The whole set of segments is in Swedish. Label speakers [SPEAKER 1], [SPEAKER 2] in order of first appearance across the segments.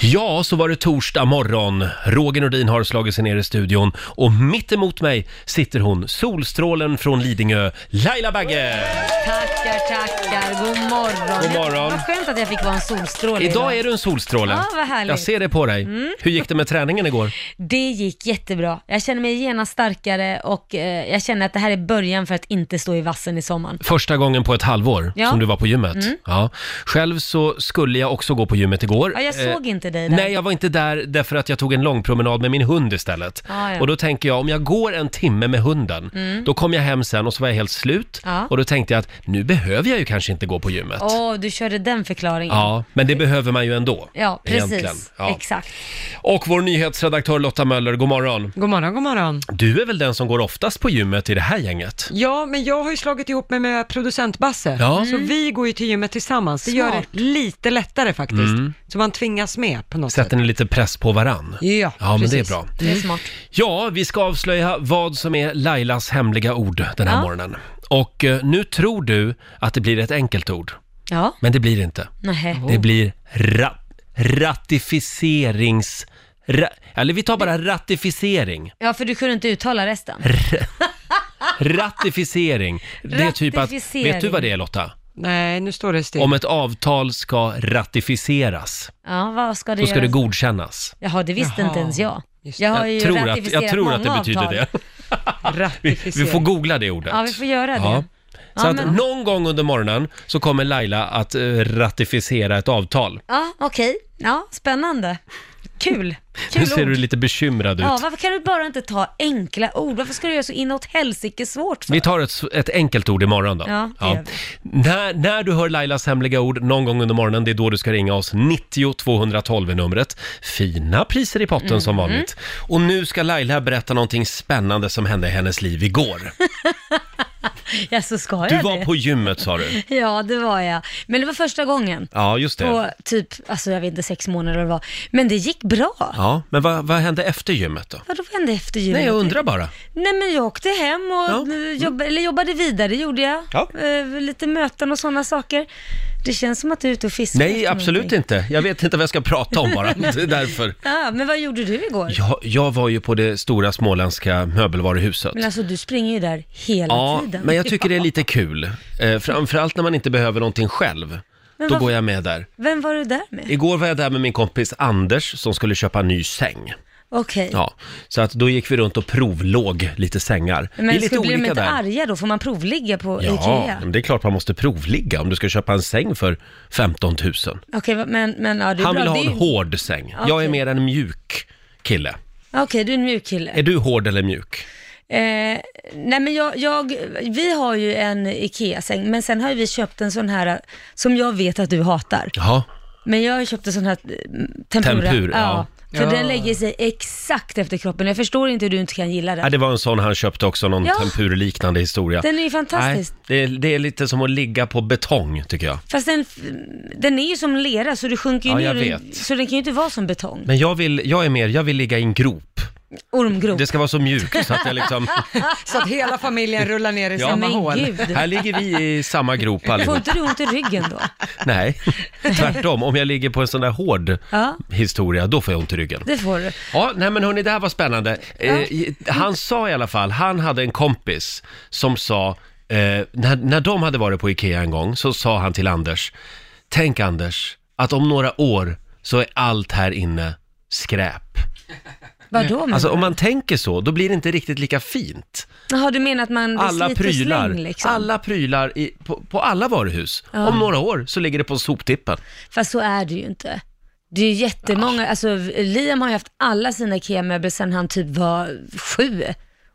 [SPEAKER 1] Ja, så var det torsdag morgon. Roger Nordin har slagit sig ner i studion och mitt emot mig sitter hon, solstrålen från Lidingö, Laila Bagge!
[SPEAKER 2] Tackar, tackar. God morgon.
[SPEAKER 1] God morgon.
[SPEAKER 2] Vad skönt att jag fick vara en solstråle
[SPEAKER 1] Idag är du en solstråle.
[SPEAKER 2] Ja, vad härligt. Mm.
[SPEAKER 1] Jag ser det på dig. Hur gick det med träningen igår?
[SPEAKER 2] Det gick jättebra. Jag känner mig genast starkare och eh, jag känner att det här är början för att inte stå i vassen i sommaren.
[SPEAKER 1] Första gången på ett halvår
[SPEAKER 2] Ja. Mm.
[SPEAKER 1] som du var på gymmet. Ja. Själv så skulle jag också gå på gymmet igår.
[SPEAKER 2] Ja, jag
[SPEAKER 1] Eh,
[SPEAKER 2] såg inte dig där.
[SPEAKER 1] Nej, jag var inte där därför att jag tog en lång promenad med min hund istället.
[SPEAKER 2] Ah, ja. Mm.
[SPEAKER 1] Och då tänker jag, om jag går en timme med hunden, då kom jag hem sen och så var jag helt slut.
[SPEAKER 2] Ja.
[SPEAKER 1] Och då tänkte jag att nu behöver jag ju kanske inte gå på gymmet.
[SPEAKER 2] Åh, du körde den förklaringen.
[SPEAKER 1] Ja, men det behöver man ju ändå.
[SPEAKER 2] Ja,
[SPEAKER 1] egentligen.
[SPEAKER 2] precis.
[SPEAKER 1] Ja.
[SPEAKER 2] Exakt.
[SPEAKER 1] Och vår nyhetsredaktör Lotta Möller, god morgon.
[SPEAKER 3] God morgon, god morgon.
[SPEAKER 1] Du är väl den som går oftast på gymmet i det här gänget?
[SPEAKER 3] Ja, men jag har ju slagit ihop mig med producent Basse,
[SPEAKER 1] Ja.
[SPEAKER 3] så vi går ju till gymmet tillsammans. Det gör det
[SPEAKER 2] Smart.
[SPEAKER 3] lite lättare
[SPEAKER 2] Mm.
[SPEAKER 3] faktiskt,
[SPEAKER 1] Mm.
[SPEAKER 3] så man tvingas med på något
[SPEAKER 1] Sätter
[SPEAKER 3] sätt.
[SPEAKER 1] ni lite press på varann?
[SPEAKER 3] Ja,
[SPEAKER 1] Ja, men det är
[SPEAKER 3] precis.
[SPEAKER 1] bra. Mm.
[SPEAKER 2] Det är smart.
[SPEAKER 1] Ja, vi ska avslöja vad som är Lailas hemliga ord den här
[SPEAKER 2] Ja.
[SPEAKER 1] morgonen. Och eh, nu tror du att det blir ett enkelt ord,
[SPEAKER 2] Ja,
[SPEAKER 1] men det blir det inte.
[SPEAKER 2] nej.
[SPEAKER 1] Det blir ra- ratificerings... Ra- eller vi tar bara ratificering.
[SPEAKER 2] Ja, för du kunde inte uttala resten.
[SPEAKER 1] Ratificering. Det är typ att...
[SPEAKER 2] Ratificering.
[SPEAKER 1] Vet du vad det är Lotta?
[SPEAKER 3] Nej, nu står det still.
[SPEAKER 1] Om ett avtal ska ratificeras,
[SPEAKER 2] Ja, vad ska det
[SPEAKER 1] då ska det
[SPEAKER 2] göras?
[SPEAKER 1] godkännas.
[SPEAKER 2] Jaha, det visste
[SPEAKER 3] Jaha.
[SPEAKER 2] inte ens jag.
[SPEAKER 3] Just
[SPEAKER 2] Jag har
[SPEAKER 1] Jag
[SPEAKER 2] ju
[SPEAKER 1] tror att,
[SPEAKER 2] ratificerat
[SPEAKER 1] jag tror att det
[SPEAKER 2] många
[SPEAKER 1] betyder
[SPEAKER 2] avtal.
[SPEAKER 1] det. Vi, vi
[SPEAKER 3] Ratificering.
[SPEAKER 1] får googla det ordet.
[SPEAKER 2] Ja, vi får göra det.
[SPEAKER 1] Ja. Så
[SPEAKER 2] Ja,
[SPEAKER 1] att
[SPEAKER 2] men-
[SPEAKER 1] någon gång under morgonen så kommer Laila att eh, ratificera ett avtal.
[SPEAKER 2] Ja, okej. Ja, spännande. Kul. Kul
[SPEAKER 1] Nu ser
[SPEAKER 2] ord.
[SPEAKER 1] du lite bekymrad ut.
[SPEAKER 2] Ja, varför kan du bara inte ta enkla ord? Varför ska du göra så inåt helsike svårt för?
[SPEAKER 1] Vi tar ett, ett enkelt ord imorgon då.
[SPEAKER 2] Ja, det gör vi.
[SPEAKER 1] När, när du hör Lailas hemliga ord någon gång under morgonen, det är då du ska ringa oss. 90 212 är numret. Fina priser i potten som
[SPEAKER 2] Mhm.
[SPEAKER 1] vanligt. Och nu ska Laila berätta någonting spännande som hände i hennes liv igår.
[SPEAKER 2] Ja, så ska
[SPEAKER 1] Du
[SPEAKER 2] jag
[SPEAKER 1] var
[SPEAKER 2] det?
[SPEAKER 1] på gymmet sa du.
[SPEAKER 2] Ja, det var jag. Men det var första gången.
[SPEAKER 1] Ja, just
[SPEAKER 2] På
[SPEAKER 1] det.
[SPEAKER 2] typ, alltså jag vet inte, sex månader eller vad. Men det gick bra.
[SPEAKER 1] Ja, men vad, vad hände efter gymmet då?
[SPEAKER 2] Vadå vad hände efter julen?
[SPEAKER 1] Nej, jag undrar bara.
[SPEAKER 2] Nej, men jag åkte hem och
[SPEAKER 1] Ja.
[SPEAKER 2] eh, jobb, eller jobbade vidare, gjorde jag.
[SPEAKER 1] Ja.
[SPEAKER 2] Eh, lite möten och sådana saker. Det känns som att du är ute och fiskar
[SPEAKER 1] Nej, absolut inte. Jag vet inte vad jag ska prata om bara. Det är därför.
[SPEAKER 2] Ja, men vad gjorde du igår?
[SPEAKER 1] Jag, jag var ju på det stora småländska möbelvaruhuset.
[SPEAKER 2] Men alltså du springer ju där hela
[SPEAKER 1] Ja,
[SPEAKER 2] tiden.
[SPEAKER 1] men jag tycker det är lite kul. Eh, framförallt när man inte behöver någonting själv.
[SPEAKER 2] Men
[SPEAKER 1] Då
[SPEAKER 2] varför-
[SPEAKER 1] går jag med där.
[SPEAKER 2] Vem var du där med?
[SPEAKER 1] Igår var jag där med min kompis Anders som skulle köpa en ny säng.
[SPEAKER 2] Okej.
[SPEAKER 1] Ja, så att då gick vi runt och provlåg lite sängar.
[SPEAKER 2] Men
[SPEAKER 1] det är lite
[SPEAKER 2] skulle- blir de
[SPEAKER 1] olika
[SPEAKER 2] inte
[SPEAKER 1] där.
[SPEAKER 2] arga då? Får man provligga på
[SPEAKER 1] Ja,
[SPEAKER 2] IKEA?
[SPEAKER 1] men det är klart man måste provligga om du ska köpa en säng för 15 000.
[SPEAKER 2] Okej, va- men, men ja, det är
[SPEAKER 1] Han
[SPEAKER 2] bra.
[SPEAKER 1] vill ha
[SPEAKER 2] Det är
[SPEAKER 1] en
[SPEAKER 2] ju-
[SPEAKER 1] hård säng. Jag är
[SPEAKER 2] Okej.
[SPEAKER 1] mer en mjuk kille.
[SPEAKER 2] Okej, du är en mjuk kille.
[SPEAKER 1] Är du hård eller mjuk?
[SPEAKER 2] Eh, nej men jag, jag, vi har ju en IKEA-säng, men sen har ju vi köpt en sån här eh, som jag vet att du hatar.
[SPEAKER 1] Jaha.
[SPEAKER 2] Men jag har ju köpt en sån här eh, tempura.
[SPEAKER 1] Tempur, ja.
[SPEAKER 2] För
[SPEAKER 3] Ja.
[SPEAKER 2] den lägger sig exakt efter kroppen. Jag förstår inte hur du inte kan gilla
[SPEAKER 1] Ja,
[SPEAKER 2] den.
[SPEAKER 1] det var en sån han köpte också, någon
[SPEAKER 2] Ja.
[SPEAKER 1] tempurliknande historia.
[SPEAKER 2] Den är ju fantastisk.
[SPEAKER 1] Nej, det, är, det är lite som att ligga på betong, tycker jag.
[SPEAKER 2] Fast den, den är ju som lera, så du sjunker ju
[SPEAKER 1] Ja, jag
[SPEAKER 2] ner. och-
[SPEAKER 1] vet.
[SPEAKER 2] Så den kan ju inte vara som betong.
[SPEAKER 1] Men jag vill, jag är mer, jag vill ligga i en grop.
[SPEAKER 2] Ormgrop.
[SPEAKER 1] Det ska vara så mjukt så att jag liksom,
[SPEAKER 3] Så att hela familjen rullar ner i
[SPEAKER 1] Ja,
[SPEAKER 3] samma
[SPEAKER 2] men
[SPEAKER 3] hål.
[SPEAKER 2] gud.
[SPEAKER 1] här ligger vi i samma grop
[SPEAKER 2] Får
[SPEAKER 1] allihop.
[SPEAKER 2] inte du ont i ryggen då?
[SPEAKER 1] Nej, tvärtom. Om jag ligger på en sån där hård
[SPEAKER 2] Ja.
[SPEAKER 1] historia, då får jag ont i ryggen.
[SPEAKER 2] Det får du.
[SPEAKER 1] Ja, nej men hörni, det här var spännande. Eh, han sa i alla fall, han hade en kompis som sa, eh, när, när de hade varit på Ikea en gång, så sa han till Anders, tänk Anders, att om några år så är allt här inne skräp.
[SPEAKER 2] Vadå men?
[SPEAKER 1] Alltså om man tänker så, då blir det inte riktigt lika fint.
[SPEAKER 2] Jaha, du menar att man det är
[SPEAKER 1] Alla
[SPEAKER 2] slit och
[SPEAKER 1] prylar,
[SPEAKER 2] Släng, liksom.
[SPEAKER 1] alla prylar i, på, på alla varuhus. Om några år så ligger det på soptippen.
[SPEAKER 2] Fast så är det ju inte. Det är ju jättemånga, alltså Liam har ju haft alla sina IKEA-möbler sedan han typ var sju.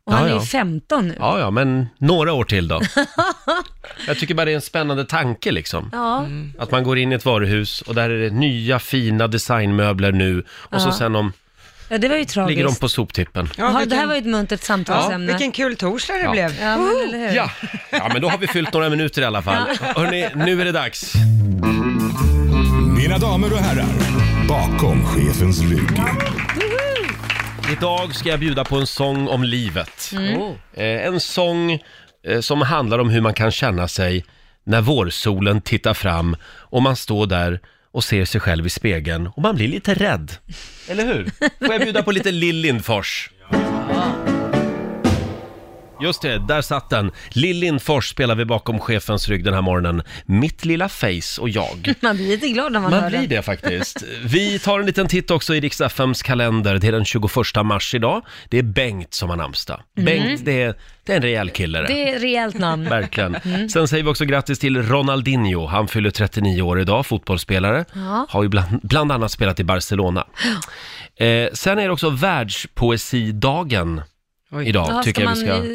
[SPEAKER 2] Och han
[SPEAKER 1] Ja,
[SPEAKER 2] är
[SPEAKER 1] ja.
[SPEAKER 2] ju 15 nu. Ja,
[SPEAKER 1] Ja, ja, men några år till då. Jag tycker bara det är en spännande tanke liksom. Att man går in i ett varuhus och där är det nya fina designmöbler nu och så sen om,
[SPEAKER 2] ja det var ju tragiskt.
[SPEAKER 1] ligger de på soptippen.
[SPEAKER 3] Ja,
[SPEAKER 2] Jaha, Det här
[SPEAKER 3] vilken-
[SPEAKER 2] var ju ett muntert
[SPEAKER 3] Ja,
[SPEAKER 2] samtalsämne.
[SPEAKER 3] vilken kul torsdag det blev.
[SPEAKER 2] Ja, men, eller hur?
[SPEAKER 1] Ja. ja, men då har vi fyllt några minuter i alla fall. Hörni, nu är det dags.
[SPEAKER 4] Mina damer och herrar, bakom chefens rygg.
[SPEAKER 1] Idag ska jag bjuda på en sång om livet. Eh, en sång eh, som handlar om hur man kan känna sig när vårsolen tittar fram och man står där och ser sig själv i spegeln och man blir lite rädd. Eller hur? Får jag bjuda på lite Lill Lindfors? Just det, där satt den. Lill Lindfors spelar vi bakom chefens rygg den här morgonen. Mitt lilla face och jag.
[SPEAKER 2] Man blir lite glad när man,
[SPEAKER 1] Man
[SPEAKER 2] hör
[SPEAKER 1] blir
[SPEAKER 2] den.
[SPEAKER 1] det faktiskt. Vi tar en liten titt också i Rix FMs kalender. Det är den 21 mars idag. Det är Bengt som har namnsdag. Bengt, det är, det är en rejäl kille det.
[SPEAKER 2] Mm. Det är Mm. ett rejält namn.
[SPEAKER 1] Verkligen. Sen säger vi också grattis till Ronaldinho. Han fyller 39 år idag, fotbollsspelare.
[SPEAKER 2] Ja.
[SPEAKER 1] Har ju bland, bland annat spelat i Barcelona. Eh, sen är det också världspoesidagen
[SPEAKER 3] Oj.
[SPEAKER 1] idag,
[SPEAKER 2] Jaha,
[SPEAKER 1] tycker
[SPEAKER 2] ska
[SPEAKER 1] jag
[SPEAKER 2] man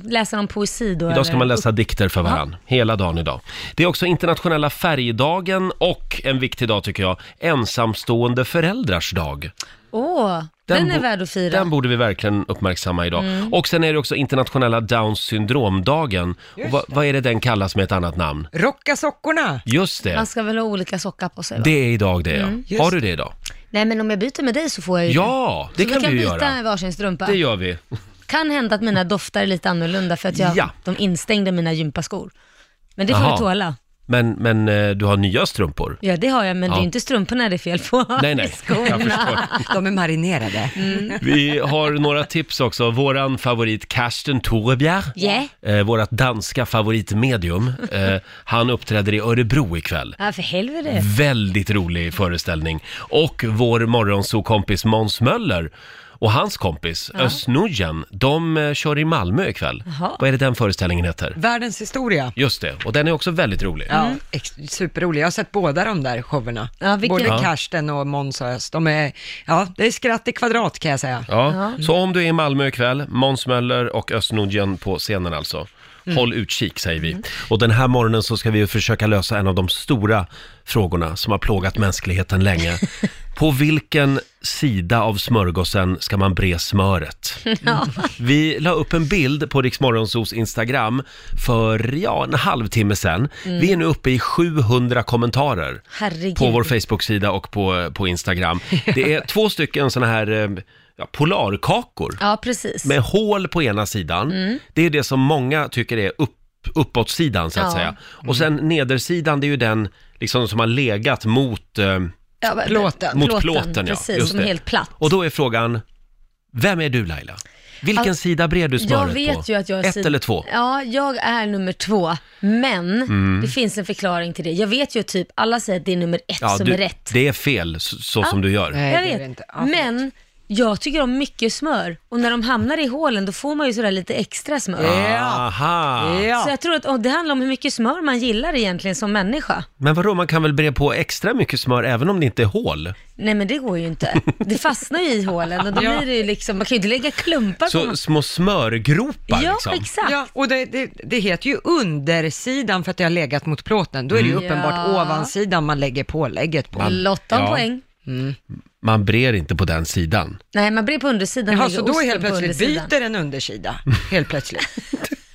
[SPEAKER 1] vi ska...
[SPEAKER 2] eh, läsa någon poesi då?
[SPEAKER 1] Idag ska
[SPEAKER 2] eller?
[SPEAKER 1] man läsa dikter för varann, hela dagen idag. Det är också internationella färgdagen och en viktig dag tycker jag, ensamstående föräldrars dag.
[SPEAKER 2] Åh, den, är
[SPEAKER 1] bo-
[SPEAKER 2] värd att fira.
[SPEAKER 1] Den borde vi verkligen uppmärksamma idag. Och sen är det också internationella Downs syndromdagen. Och vad, vad är det den kallas med ett annat namn?
[SPEAKER 3] Rocka sockorna!
[SPEAKER 1] Just det,
[SPEAKER 2] Man ska väl ha olika sockar på sig? Va?
[SPEAKER 1] det är idag det ja.
[SPEAKER 3] Just
[SPEAKER 1] Har du det idag?
[SPEAKER 2] Nej, men om jag byter med dig så får jag ju
[SPEAKER 1] Ja, det
[SPEAKER 2] det. Så
[SPEAKER 1] kan
[SPEAKER 2] vi kan
[SPEAKER 1] du
[SPEAKER 2] byta
[SPEAKER 1] göra.
[SPEAKER 2] varsin strumpa.
[SPEAKER 1] Det gör vi.
[SPEAKER 2] Kan hända att mina doftar är lite annorlunda för att jag,
[SPEAKER 1] Ja.
[SPEAKER 2] de instängde mina gympaskor. Men det får
[SPEAKER 1] Jaha.
[SPEAKER 2] vi tåla.
[SPEAKER 1] Men, men eh, du har nya strumpor.
[SPEAKER 2] Ja, det har jag, men det
[SPEAKER 1] Ja.
[SPEAKER 2] är inte strumporna det är fel på.
[SPEAKER 1] Nej, nej, jag förstår.
[SPEAKER 3] De är marinerade.
[SPEAKER 2] Mm.
[SPEAKER 1] Vi har några tips också. Våran favorit Karsten Torebjer,
[SPEAKER 2] Yeah.
[SPEAKER 1] eh, vårat danska favoritmedium, eh, han uppträder i Örebro ikväll.
[SPEAKER 2] Ja, för helvete.
[SPEAKER 1] Väldigt rolig föreställning. Och vår morgonsokompis Måns Möller och hans kompis Özz Nujen, de eh, kör i Malmö ikväll.
[SPEAKER 2] Jaha.
[SPEAKER 1] Vad är det den föreställningen heter?
[SPEAKER 3] Världens historia.
[SPEAKER 1] Just det, och den är också väldigt rolig.
[SPEAKER 3] Ja, Mm. ex- superrolig. Jag har sett båda de där showerna.
[SPEAKER 2] Mm. Ja, vilken-
[SPEAKER 3] Både
[SPEAKER 2] Ja.
[SPEAKER 3] Karsten och Måns och Öst. De är, ja, det är skratt i kvadrat kan jag säga.
[SPEAKER 1] Ja. Så om du är i Malmö ikväll, Måns Möller och Özz Nujen på scenen alltså. Håll utkik säger vi. Och den här morgonen så ska vi ju försöka lösa en av de stora frågorna som har plågat mänskligheten länge. På vilken sida av smörgåsen ska man bre smöret? Vi la upp en bild på Rix Morgonzos Instagram för ja, en halvtimme sedan. Vi är nu uppe i 700 kommentarer
[SPEAKER 2] Herregud.
[SPEAKER 1] på vår Facebook-sida och på, på Instagram. Det är två stycken såna här eh, ja, polarkakor
[SPEAKER 2] Ja, precis. Mm.
[SPEAKER 1] med hål på ena sidan. Det är det som många tycker är upp, uppåtsidan så att
[SPEAKER 2] Ja. Mm.
[SPEAKER 1] säga. Och sen nedersidan, det är ju den liksom som har legat mot, eh,
[SPEAKER 2] ja, men-
[SPEAKER 3] plåten.
[SPEAKER 1] mot plåten. ja.
[SPEAKER 2] Precis,
[SPEAKER 1] Just
[SPEAKER 2] som
[SPEAKER 1] det.
[SPEAKER 2] helt platt.
[SPEAKER 1] Och då är frågan, vem är du Laila? Vilken sida bred du smöret
[SPEAKER 2] Alltså, jag vet
[SPEAKER 1] på?
[SPEAKER 2] ju att jag är
[SPEAKER 1] Ett
[SPEAKER 2] sid-
[SPEAKER 1] eller två? Mm.
[SPEAKER 2] Ja, jag är nummer två. Men det finns en förklaring till det. Jag vet ju typ, alla säger att det är nummer ett som
[SPEAKER 1] du,
[SPEAKER 2] är rätt.
[SPEAKER 1] Det är fel så, så som du gör.
[SPEAKER 3] Nej,
[SPEAKER 2] jag
[SPEAKER 3] det är
[SPEAKER 2] vet,
[SPEAKER 3] det inte. Ja, förlåt.
[SPEAKER 2] men jag tycker om mycket smör. Och när de hamnar i hålen, då får man ju sådär lite extra smör.
[SPEAKER 1] Aha!
[SPEAKER 2] Så
[SPEAKER 3] Ja.
[SPEAKER 2] jag tror att åh, det handlar om hur mycket smör man gillar egentligen som människa.
[SPEAKER 1] Men vadå, man kan väl bre på extra mycket smör även om det inte är hål?
[SPEAKER 2] Nej men det går ju inte. Det fastnar ju i hålen och då blir det ju liksom, man kan ju inte lägga klumpar på
[SPEAKER 1] Så
[SPEAKER 2] något.
[SPEAKER 1] små smörgropar
[SPEAKER 2] Ja,
[SPEAKER 1] liksom?
[SPEAKER 2] exakt.
[SPEAKER 3] Ja, och det, det, det heter ju undersidan för att det har legat mot plåten. Då är det ju uppenbart
[SPEAKER 2] Mm. Ja.
[SPEAKER 3] ovansidan man lägger pålägget på.
[SPEAKER 2] Lotta om
[SPEAKER 1] Ja.
[SPEAKER 2] poäng. Mm.
[SPEAKER 1] Man brer inte på den sidan.
[SPEAKER 2] Nej, man brer på undersidan.
[SPEAKER 3] Jaha,
[SPEAKER 2] lägger
[SPEAKER 3] så då
[SPEAKER 2] osten
[SPEAKER 3] är helt
[SPEAKER 2] på
[SPEAKER 3] plötsligt
[SPEAKER 2] undersidan.
[SPEAKER 3] byter en undersida, helt plötsligt.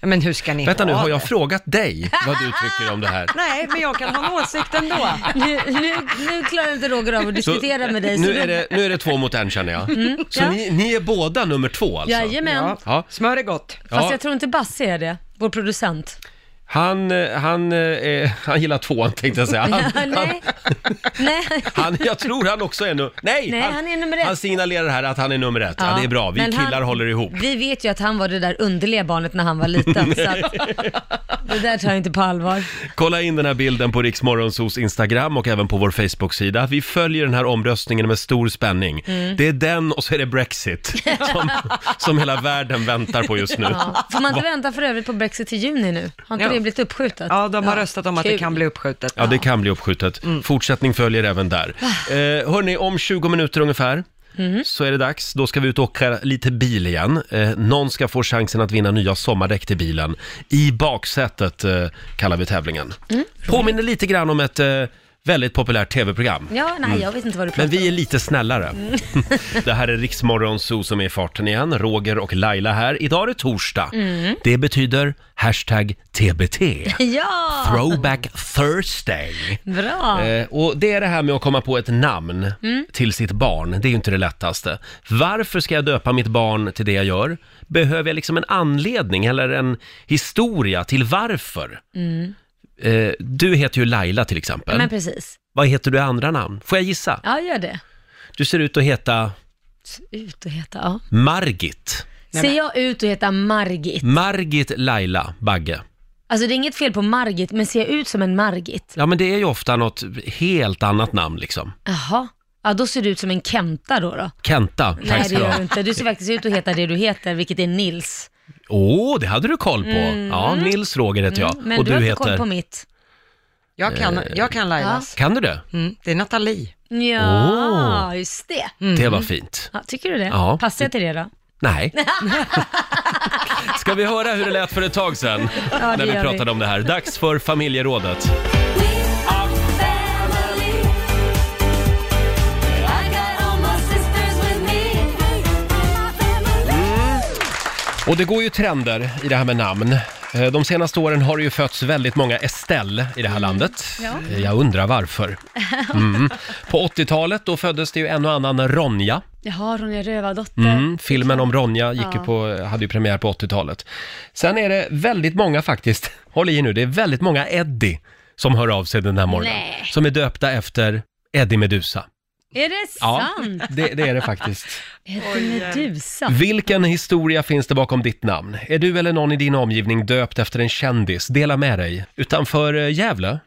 [SPEAKER 3] Ja, Men hur ska ni
[SPEAKER 1] Vänta nu,
[SPEAKER 3] ha
[SPEAKER 1] har jag
[SPEAKER 3] det?
[SPEAKER 1] frågat dig vad du tycker om det här?
[SPEAKER 3] Nej, men jag kan ha en åsikt ändå.
[SPEAKER 2] Nu, nu, nu klarar inte Roger av att
[SPEAKER 1] Så,
[SPEAKER 2] diskutera med dig. Så
[SPEAKER 1] nu,
[SPEAKER 2] då-
[SPEAKER 1] är det, nu är det två mot en känner jag. så
[SPEAKER 2] ja.
[SPEAKER 1] ni, ni är båda nummer två alltså?
[SPEAKER 2] Jajamän.
[SPEAKER 3] Ja.
[SPEAKER 1] Ja.
[SPEAKER 3] Smör är gott.
[SPEAKER 2] Fast
[SPEAKER 1] Ja.
[SPEAKER 2] jag tror inte Basse är det, vår producent.
[SPEAKER 1] Han, eh, han, eh, han gillar tvåan tänkte jag säga. Han, han,
[SPEAKER 2] nej. nej.
[SPEAKER 1] han, jag tror han också är nu... Nej!
[SPEAKER 2] Nej, han är nummer ett.
[SPEAKER 1] Han signalerar här att han är nummer ett. Ja, det är bra. Vi
[SPEAKER 2] men han-
[SPEAKER 1] killar håller ihop.
[SPEAKER 2] Vi vet ju att han var det där underliga barnet när han var liten, så att, det där tar jag inte på allvar.
[SPEAKER 1] Kolla in den här bilden på Riksmorgonsos Instagram och även på vår Facebook-sida. Vi följer den här omröstningen med stor spänning.
[SPEAKER 2] Mm.
[SPEAKER 1] Det är den och så är det Brexit som, som hela världen väntar på just nu.
[SPEAKER 2] Ja. Får man inte vänta för övrigt på Brexit till juni nu? Har inte
[SPEAKER 3] Ja.
[SPEAKER 2] det blivit uppskjutet?
[SPEAKER 3] Ja, de har röstat om att det
[SPEAKER 2] kul.
[SPEAKER 3] kan bli uppskjutet.
[SPEAKER 1] Ja, det kan bli uppskjutet.
[SPEAKER 2] Mm.
[SPEAKER 1] Fortsättning följer även där.
[SPEAKER 2] Ah.
[SPEAKER 1] Eh, hörni, om 20 minuter ungefär
[SPEAKER 2] Mm-hmm.
[SPEAKER 1] så är det dags. Då ska vi ut och åka lite bil igen. Eh, någon ska få chansen att vinna nya sommardäck till bilen. I baksätet eh, kallar vi tävlingen.
[SPEAKER 2] Mm.
[SPEAKER 1] Påminner lite grann om ett eh, väldigt populärt tv-program. Mm.
[SPEAKER 2] Ja, nej, jag vet inte vad du pratar
[SPEAKER 1] Men
[SPEAKER 2] om.
[SPEAKER 1] vi är lite snällare. det här är Riksmorgon Zoo som är i farten igen. Roger och Laila här. Idag är det torsdag.
[SPEAKER 2] Mm.
[SPEAKER 1] Det betyder hashtag TBT.
[SPEAKER 2] Ja,
[SPEAKER 1] Throwback Thursday.
[SPEAKER 2] bra.
[SPEAKER 1] Eh, och det är det här med att komma på ett namn
[SPEAKER 2] Mm.
[SPEAKER 1] till sitt barn. Det är ju inte det lättaste. Varför ska jag döpa mitt barn till det jag gör? Behöver jag liksom en anledning eller en historia till varför? eh, du heter ju Laila till exempel.
[SPEAKER 2] Mm. Men precis.
[SPEAKER 1] Vad heter du i andra namn? Får jag gissa?
[SPEAKER 2] Ja, gör det.
[SPEAKER 1] Du ser ut att heta
[SPEAKER 2] Ut och heta, ja.
[SPEAKER 1] Margit.
[SPEAKER 3] Nej,
[SPEAKER 2] Ser
[SPEAKER 3] men-
[SPEAKER 2] jag ut att heta Margit?
[SPEAKER 1] Margit Laila Bagge.
[SPEAKER 2] Alltså det är inget fel på Margit, men ser jag ut som en Margit?
[SPEAKER 1] Ja, men det är ju ofta något helt annat namn liksom.
[SPEAKER 2] Jaha. Ja, då ser du ut som en Kenta då. då.
[SPEAKER 1] Kenta, tack
[SPEAKER 2] Nej, det
[SPEAKER 1] ska du
[SPEAKER 2] gör du
[SPEAKER 1] ha.
[SPEAKER 2] inte. Du ser faktiskt ut att heta det du heter, vilket är Nils.
[SPEAKER 1] Åh, det hade du koll på. Ja, Nils Roger heter Eh, jag.
[SPEAKER 2] Mm, men du har inte koll på mitt.
[SPEAKER 3] Jag kan, jag kan Lailas.
[SPEAKER 1] Kan du det?
[SPEAKER 3] Mm, det är Nathalie.
[SPEAKER 2] Ja, just det.
[SPEAKER 1] Det var fint.
[SPEAKER 2] Ja, tycker du det?
[SPEAKER 1] Ja.
[SPEAKER 2] Passar jag till det då?
[SPEAKER 1] Nej. Ska vi höra hur det lät för ett tag sedan?
[SPEAKER 2] Ja,
[SPEAKER 1] när vi
[SPEAKER 2] gör
[SPEAKER 1] pratade om det här. Dags för familjerådet. Och det går ju trender i det här med namn. Eh, De senaste åren har det ju fötts väldigt många Estelle i det
[SPEAKER 2] Mm.
[SPEAKER 1] här landet. Eh, Jag undrar varför. Mm. På 80-talet då föddes det ju en och annan Ronja.
[SPEAKER 5] Jaha, Ronja Rövardotter.
[SPEAKER 1] Mm, filmen om Ronja gick ju
[SPEAKER 5] Ja.
[SPEAKER 1] på, hade ju premiär på 80-talet. Sen är det väldigt många faktiskt, håll i nu, det är väldigt många Eddie som hör av sig den här morgonen.
[SPEAKER 5] Nej.
[SPEAKER 1] Som är döpta efter Eddie Medusa.
[SPEAKER 2] Är det
[SPEAKER 1] Ja,
[SPEAKER 2] sant?
[SPEAKER 1] det, det är det faktiskt.
[SPEAKER 2] Heter Medusa?
[SPEAKER 1] Vilken historia finns det bakom ditt namn? Är du eller någon i din omgivning döpt efter en kändis? Dela med dig. Utanför eh, Gävle,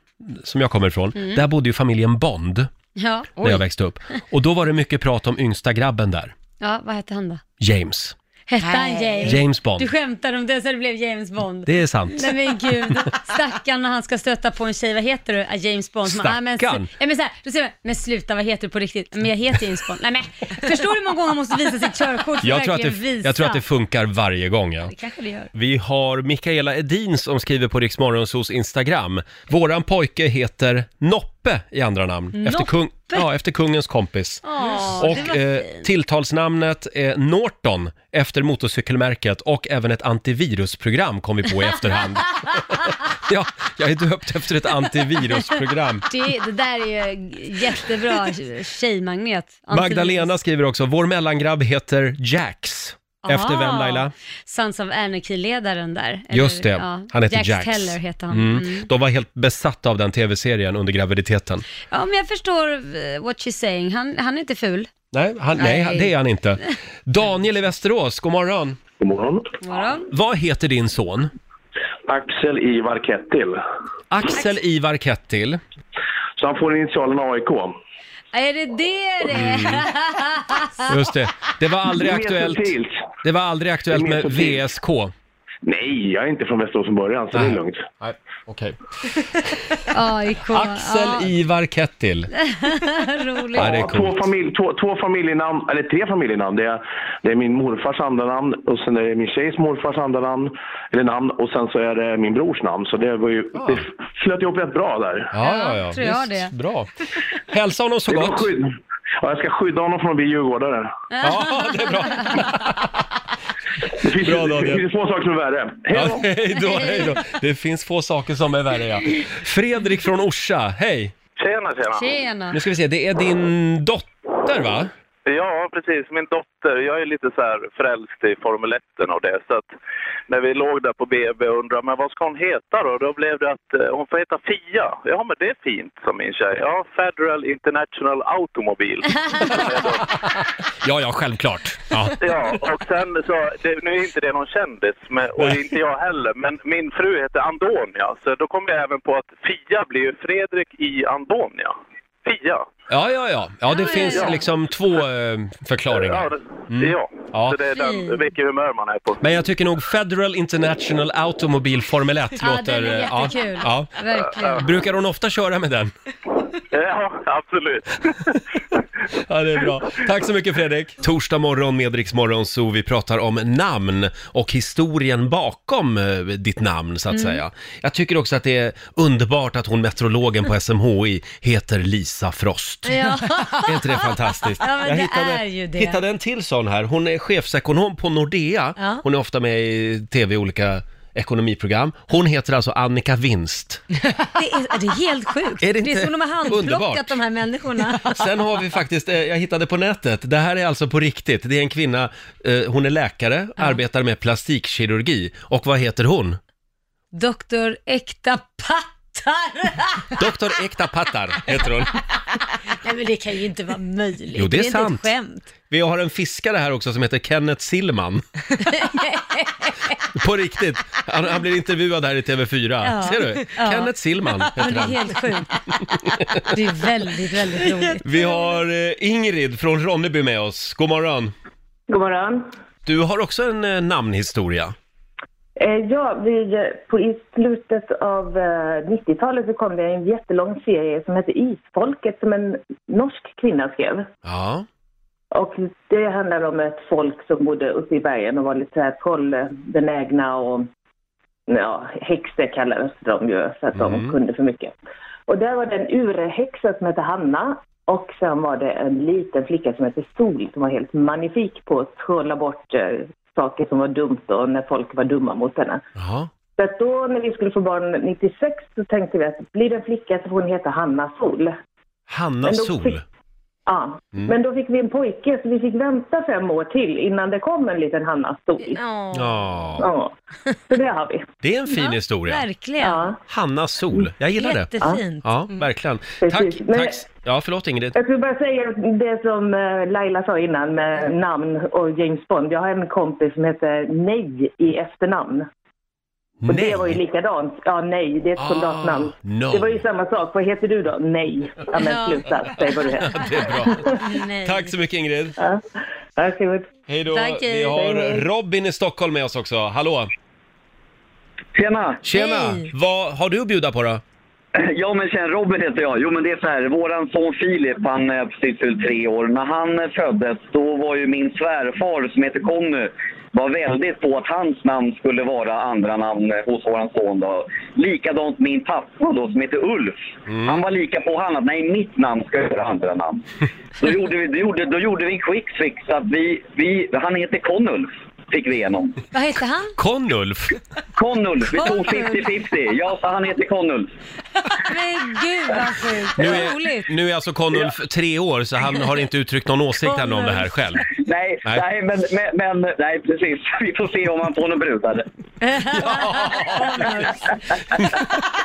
[SPEAKER 1] som jag kommer ifrån,
[SPEAKER 2] Mm.
[SPEAKER 1] där bodde ju familjen Bond
[SPEAKER 5] Ja.
[SPEAKER 1] när jag
[SPEAKER 3] Oj.
[SPEAKER 1] växte upp. Och då var det mycket prat om yngsta grabben där,
[SPEAKER 5] ja, vad hette han då?
[SPEAKER 1] James.
[SPEAKER 2] Hette han
[SPEAKER 3] Nej.
[SPEAKER 2] James?
[SPEAKER 1] James Bond.
[SPEAKER 2] Du skämtar om det så det blev James Bond.
[SPEAKER 1] Det är sant.
[SPEAKER 2] Nej men gud, stackarn när han ska stöta på en tjej, vad heter du? Ah, James Bond. Så man, ah, men,
[SPEAKER 1] Stackarn.
[SPEAKER 2] sl- ja, men, så här, då säger man, men sluta, vad heter du på riktigt? Men jag heter James Bond. Nej men, förstår du hur många gånger man måste visa sitt körkort för
[SPEAKER 1] Jag tror, att
[SPEAKER 2] verkligen
[SPEAKER 1] det,
[SPEAKER 2] visa?
[SPEAKER 1] jag tror att det funkar varje gång. Ja.
[SPEAKER 2] Det kanske det gör.
[SPEAKER 1] Vi har Mikaela Edin som skriver på Riksmorgonsos Instagram. Våran pojke heter Noppe i andra namn. Efter, kung, ja, efter kungens kompis.
[SPEAKER 2] Åh, det
[SPEAKER 1] Och
[SPEAKER 2] var
[SPEAKER 1] eh,
[SPEAKER 2] fint.
[SPEAKER 1] tilltalsnamnet är Norton efter motorcykelmärket och även ett antivirusprogram kom vi på i efterhand. ja, jag är döpt efter ett antivirusprogram.
[SPEAKER 5] Det, det där är ju jättebra tjejmagnet.
[SPEAKER 1] Magdalena skriver också, vår mellangrabb heter Jax. Efter vem
[SPEAKER 2] Ah.
[SPEAKER 5] Aha.
[SPEAKER 1] Laila?
[SPEAKER 5] Sons of Anarchy-ledaren där. Eller,
[SPEAKER 1] Just det,
[SPEAKER 5] ja,
[SPEAKER 1] han heter Jax.
[SPEAKER 5] Teller heter han.
[SPEAKER 1] Mm.
[SPEAKER 5] Mm.
[SPEAKER 1] De var helt besatta av den tv-serien under graviditeten.
[SPEAKER 5] Ja, men jag förstår eh, what she's saying. Han, han är inte ful.
[SPEAKER 1] Nej, han, nej.
[SPEAKER 5] Nej.
[SPEAKER 1] det är han inte. Daniel i Västerås, god morgon.
[SPEAKER 6] God morgon.
[SPEAKER 5] Vadå?
[SPEAKER 1] Vad heter din son?
[SPEAKER 6] Axel Ivar Kettil.
[SPEAKER 1] Axel Ivar Kettil.
[SPEAKER 6] Så han får initialen AIK.
[SPEAKER 5] Är det det det är?
[SPEAKER 1] Mm. Just det, det var aldrig
[SPEAKER 6] Det är mer
[SPEAKER 1] aktuellt.
[SPEAKER 6] subtilt.
[SPEAKER 1] Det var aldrig aktuellt
[SPEAKER 6] Det är mer
[SPEAKER 1] med
[SPEAKER 6] subtilt.
[SPEAKER 1] VSK.
[SPEAKER 6] Nej, jag är inte från Västerås från början, så det
[SPEAKER 1] Nej.
[SPEAKER 6] är lugnt.
[SPEAKER 1] Nej, okej.
[SPEAKER 5] AIK.
[SPEAKER 1] Axel Ivar Kettil.
[SPEAKER 5] Ja, roligt.
[SPEAKER 1] Ja, det är
[SPEAKER 6] Ja, två,
[SPEAKER 1] coolt.
[SPEAKER 6] familj, två, två familjenamn, eller tre familjenamn. Det är, det är min morfars andra namn och sen är det min tjejs morfars andra namn, eller namn och sen så är det min brors namn. Så det, var ju, det flöt ihop rätt bra där.
[SPEAKER 1] Ja, ja, ja.
[SPEAKER 5] tror jag
[SPEAKER 1] Visst,
[SPEAKER 5] det.
[SPEAKER 1] Bra. Hälsa honom så
[SPEAKER 6] Det var
[SPEAKER 1] gott.
[SPEAKER 6] skydd. Ja, jag ska skydda honom från att bli djurgårdare.
[SPEAKER 1] Ja, det är bra.
[SPEAKER 6] Det finns,
[SPEAKER 1] Bra,
[SPEAKER 6] det
[SPEAKER 1] Daniel.
[SPEAKER 6] finns få saker som är värre. Hej då!
[SPEAKER 1] Ja, hej då, hej då. Det finns få saker som är värre, ja. Fredrik från Orsa, hej.
[SPEAKER 7] Tjena, tjena.
[SPEAKER 5] Tjena.
[SPEAKER 1] Nu ska vi se, det är din dotter, va?
[SPEAKER 7] Ja, precis. Min dotter, jag är lite så här frälst i Formel 1 och det. Så att när vi låg där på BB och undrade men vad ska hon heta då? Då blev det att eh, hon får heta Fia. Ja, men det är fint, som min tjej. Ja, Federal International Automobil.
[SPEAKER 1] Ja, ja, självklart. Ja.
[SPEAKER 7] Ja, och sen så, det, nu är inte det någon kändis, men, och
[SPEAKER 1] Nej.
[SPEAKER 7] inte jag heller, men min fru heter Andonia. Så då kom jag även på att Fia blir ju Fredrik i Andonia. Fia.
[SPEAKER 1] Ja, ja, ja. Ja, det
[SPEAKER 5] Ja,
[SPEAKER 1] finns
[SPEAKER 5] ja, ja.
[SPEAKER 1] liksom två eh,
[SPEAKER 7] Ja,
[SPEAKER 1] förklaringar.
[SPEAKER 7] det, ja.
[SPEAKER 1] Mm. Ja.
[SPEAKER 7] så det är den, vilket humör man är på.
[SPEAKER 1] Men jag tycker nog Federal International Automobil Formel 1
[SPEAKER 2] Ja,
[SPEAKER 1] låter...
[SPEAKER 2] den är
[SPEAKER 1] eh, ja,
[SPEAKER 2] jättekul.
[SPEAKER 1] ja.
[SPEAKER 5] Verkligen.
[SPEAKER 1] Brukar hon ofta köra med den?
[SPEAKER 7] Ja, absolut.
[SPEAKER 1] Ja, det är bra. Tack så mycket Fredrik. Torsdag morgon med Rix Morgon så vi pratar om namn och historien bakom eh, ditt namn så att säga. Jag tycker också att det är underbart att hon meteorologen på SMHI heter Lisa Frost.
[SPEAKER 2] Ja.
[SPEAKER 1] Är inte det fantastiskt?
[SPEAKER 2] Ja, men
[SPEAKER 1] jag
[SPEAKER 2] det
[SPEAKER 1] hittade,
[SPEAKER 2] är ju det.
[SPEAKER 1] hittade en till sån här. Hon är chefsekonom på Nordea.
[SPEAKER 2] Ja.
[SPEAKER 1] Hon är ofta med i tv i olika ekonomiprogram. Hon heter alltså Annika Winst.
[SPEAKER 2] Det är, det är helt sjukt.
[SPEAKER 1] Är det
[SPEAKER 2] det
[SPEAKER 1] inte
[SPEAKER 2] är som de har handplockat
[SPEAKER 1] underbart?
[SPEAKER 2] de här människorna.
[SPEAKER 1] Sen har vi faktiskt, eh, jag hittade på nätet, det här är alltså på riktigt. Det är en kvinna, eh, hon är läkare, arbetar med plastikkirurgi. Och vad heter hon?
[SPEAKER 2] Doktor Äkta Patt. Pattar!
[SPEAKER 1] Doktor Ekta Pattar heter hon.
[SPEAKER 2] Nej men det kan ju inte vara möjligt.
[SPEAKER 1] Jo, det är
[SPEAKER 2] det är
[SPEAKER 1] sant.
[SPEAKER 2] inte ett skämt.
[SPEAKER 1] Vi har en fiskare här också som heter Kenneth Sillman. På riktigt. Han, han blir intervjuad här i TV4.
[SPEAKER 2] Ja.
[SPEAKER 1] Ser du?
[SPEAKER 2] Ja.
[SPEAKER 1] Kenneth Sillman
[SPEAKER 2] Men
[SPEAKER 1] heter
[SPEAKER 2] det är
[SPEAKER 1] han.
[SPEAKER 2] helt sjukt. Det är väldigt, väldigt roligt.
[SPEAKER 1] Vi har eh, Ingrid från Ronneby med oss. God morgon.
[SPEAKER 8] God morgon.
[SPEAKER 1] Du har också en eh, namnhistoria.
[SPEAKER 8] Eh, ja, vi, eh, på, i slutet av eh, 90-talet så kom det en jättelång serie som hette Isfolket som en norsk kvinna skrev.
[SPEAKER 1] Ja.
[SPEAKER 8] Och det handlar om ett folk som bodde uppe i bergen och var lite så här trollbenägna och ja, häxor kallades de ju för att de
[SPEAKER 1] Mm.
[SPEAKER 8] kunde för mycket. Och där var det en urhäxa som hette Hanna och sen var det en liten flicka som hette Sol som var helt magnifik på att trolla bort eh, saker som var dumt och när folk var dumma mot henne.
[SPEAKER 1] Ja.
[SPEAKER 8] Så att då när vi skulle få barn 96 så tänkte vi att blir det en flicka så får hon heta Hanna Sol.
[SPEAKER 1] Hanna
[SPEAKER 8] Men då
[SPEAKER 1] Sol.
[SPEAKER 8] fick- Ja,
[SPEAKER 1] Mm.
[SPEAKER 8] men då fick vi en pojke så vi fick vänta fem år till innan det kom en liten Hanna Sol.
[SPEAKER 2] Ja,
[SPEAKER 1] Ja.
[SPEAKER 8] Ja, så det har vi.
[SPEAKER 1] Det är en fin historia.
[SPEAKER 2] verkligen.
[SPEAKER 8] Ja.
[SPEAKER 1] Hanna Sol. Jag gillar det.
[SPEAKER 2] Jättefint. Mm.
[SPEAKER 1] Ja, verkligen. Tack.
[SPEAKER 8] Precis. Men-
[SPEAKER 1] tack. Ja, förlåt Ingrid.
[SPEAKER 8] Jag skulle bara säga det som eh, Laila sa innan med namn och James Bond. Jag har en kompis som heter Nej i efternamn. Och
[SPEAKER 1] Nej. Ah,
[SPEAKER 8] det var ju likadant. Ja, nej, det är ett soldatnamn.
[SPEAKER 1] no.
[SPEAKER 8] Det var ju samma sak. Vad heter du då? Nej. Ja, men sluta. Säg vad du heter.
[SPEAKER 1] Det är bra.
[SPEAKER 2] Nej.
[SPEAKER 1] Tack så mycket Ingrid.
[SPEAKER 8] Ja. Varsågod.
[SPEAKER 1] Hej då.
[SPEAKER 2] Tack,
[SPEAKER 1] Vi
[SPEAKER 2] hej.
[SPEAKER 1] har
[SPEAKER 8] Hej, hej.
[SPEAKER 1] Robin i Stockholm med oss också. Hallå!
[SPEAKER 9] Tjena!
[SPEAKER 1] Tjena!
[SPEAKER 2] Hej.
[SPEAKER 1] Vad har du att bjuda på då?
[SPEAKER 9] Ja men tjena, Robin heter jag. Jo men det är så här, våran son Filip han eh, precis fyllt tre år. När han eh, föddes då var ju min svärfar som heter Conny var väldigt på att hans namn skulle vara andra namn eh, hos våran son då. Likadant min pappa då som heter Ulf. Han var lika på han att nej mitt namn ska vara andra namn. Då gjorde vi, då gjorde, då gjorde vi en quick fix att vi, vi, han heter Connulf fick vi igenom.
[SPEAKER 2] Vad heter han?
[SPEAKER 1] Connulf!
[SPEAKER 9] Connulf, vi tog
[SPEAKER 2] Connulf.
[SPEAKER 9] 50-50. Ja, så han heter Connulf.
[SPEAKER 2] Men gud vad sjukt.
[SPEAKER 1] Nu
[SPEAKER 2] Roligt.
[SPEAKER 1] är, nu är alltså Connulf tre år så han har inte uttryckt någon åsikt ännu om det här själv.
[SPEAKER 9] Nej,
[SPEAKER 1] Nej.
[SPEAKER 9] nej. men, men, men nej, precis. Vi får se om han får någon brudare.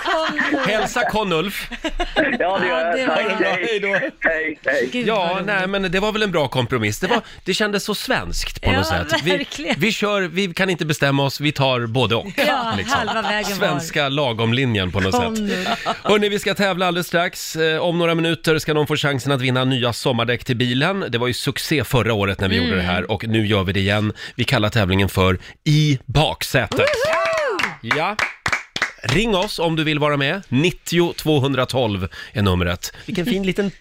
[SPEAKER 2] Kom nu.
[SPEAKER 1] Hälsa Connulf!
[SPEAKER 9] Ja, det
[SPEAKER 2] Ja,
[SPEAKER 9] gör
[SPEAKER 2] det
[SPEAKER 9] jag.
[SPEAKER 2] var
[SPEAKER 1] Ha det
[SPEAKER 9] Tack,
[SPEAKER 1] bra,
[SPEAKER 9] hej.
[SPEAKER 1] hej då!
[SPEAKER 9] Hej, hej.
[SPEAKER 2] Gud, vad
[SPEAKER 1] Ja,
[SPEAKER 2] roligt.
[SPEAKER 1] nej men det var väl en bra kompromiss. Det, var, det kändes så svenskt på
[SPEAKER 2] Ja,
[SPEAKER 1] något sätt. Vi,
[SPEAKER 2] verkligen.
[SPEAKER 1] vi kör, vi kan inte bestämma oss, vi tar både och. liksom.
[SPEAKER 2] Ja, halva vägen
[SPEAKER 1] Svenska lagomlinjen på något
[SPEAKER 2] var. Kom
[SPEAKER 1] sätt.
[SPEAKER 2] nu.
[SPEAKER 1] Hörni, vi ska tävla alldeles strax. Eh, Om några minuter ska någon få chansen att vinna nya sommardäck till bilen. Det var ju succé förra året när vi gjorde det
[SPEAKER 2] Mm.
[SPEAKER 1] här och nu gör vi det igen. Vi kallar tävlingen för I baksätet. Ja. Ring oss om du vill vara med. 90 212 är numret. Vilken fin liten...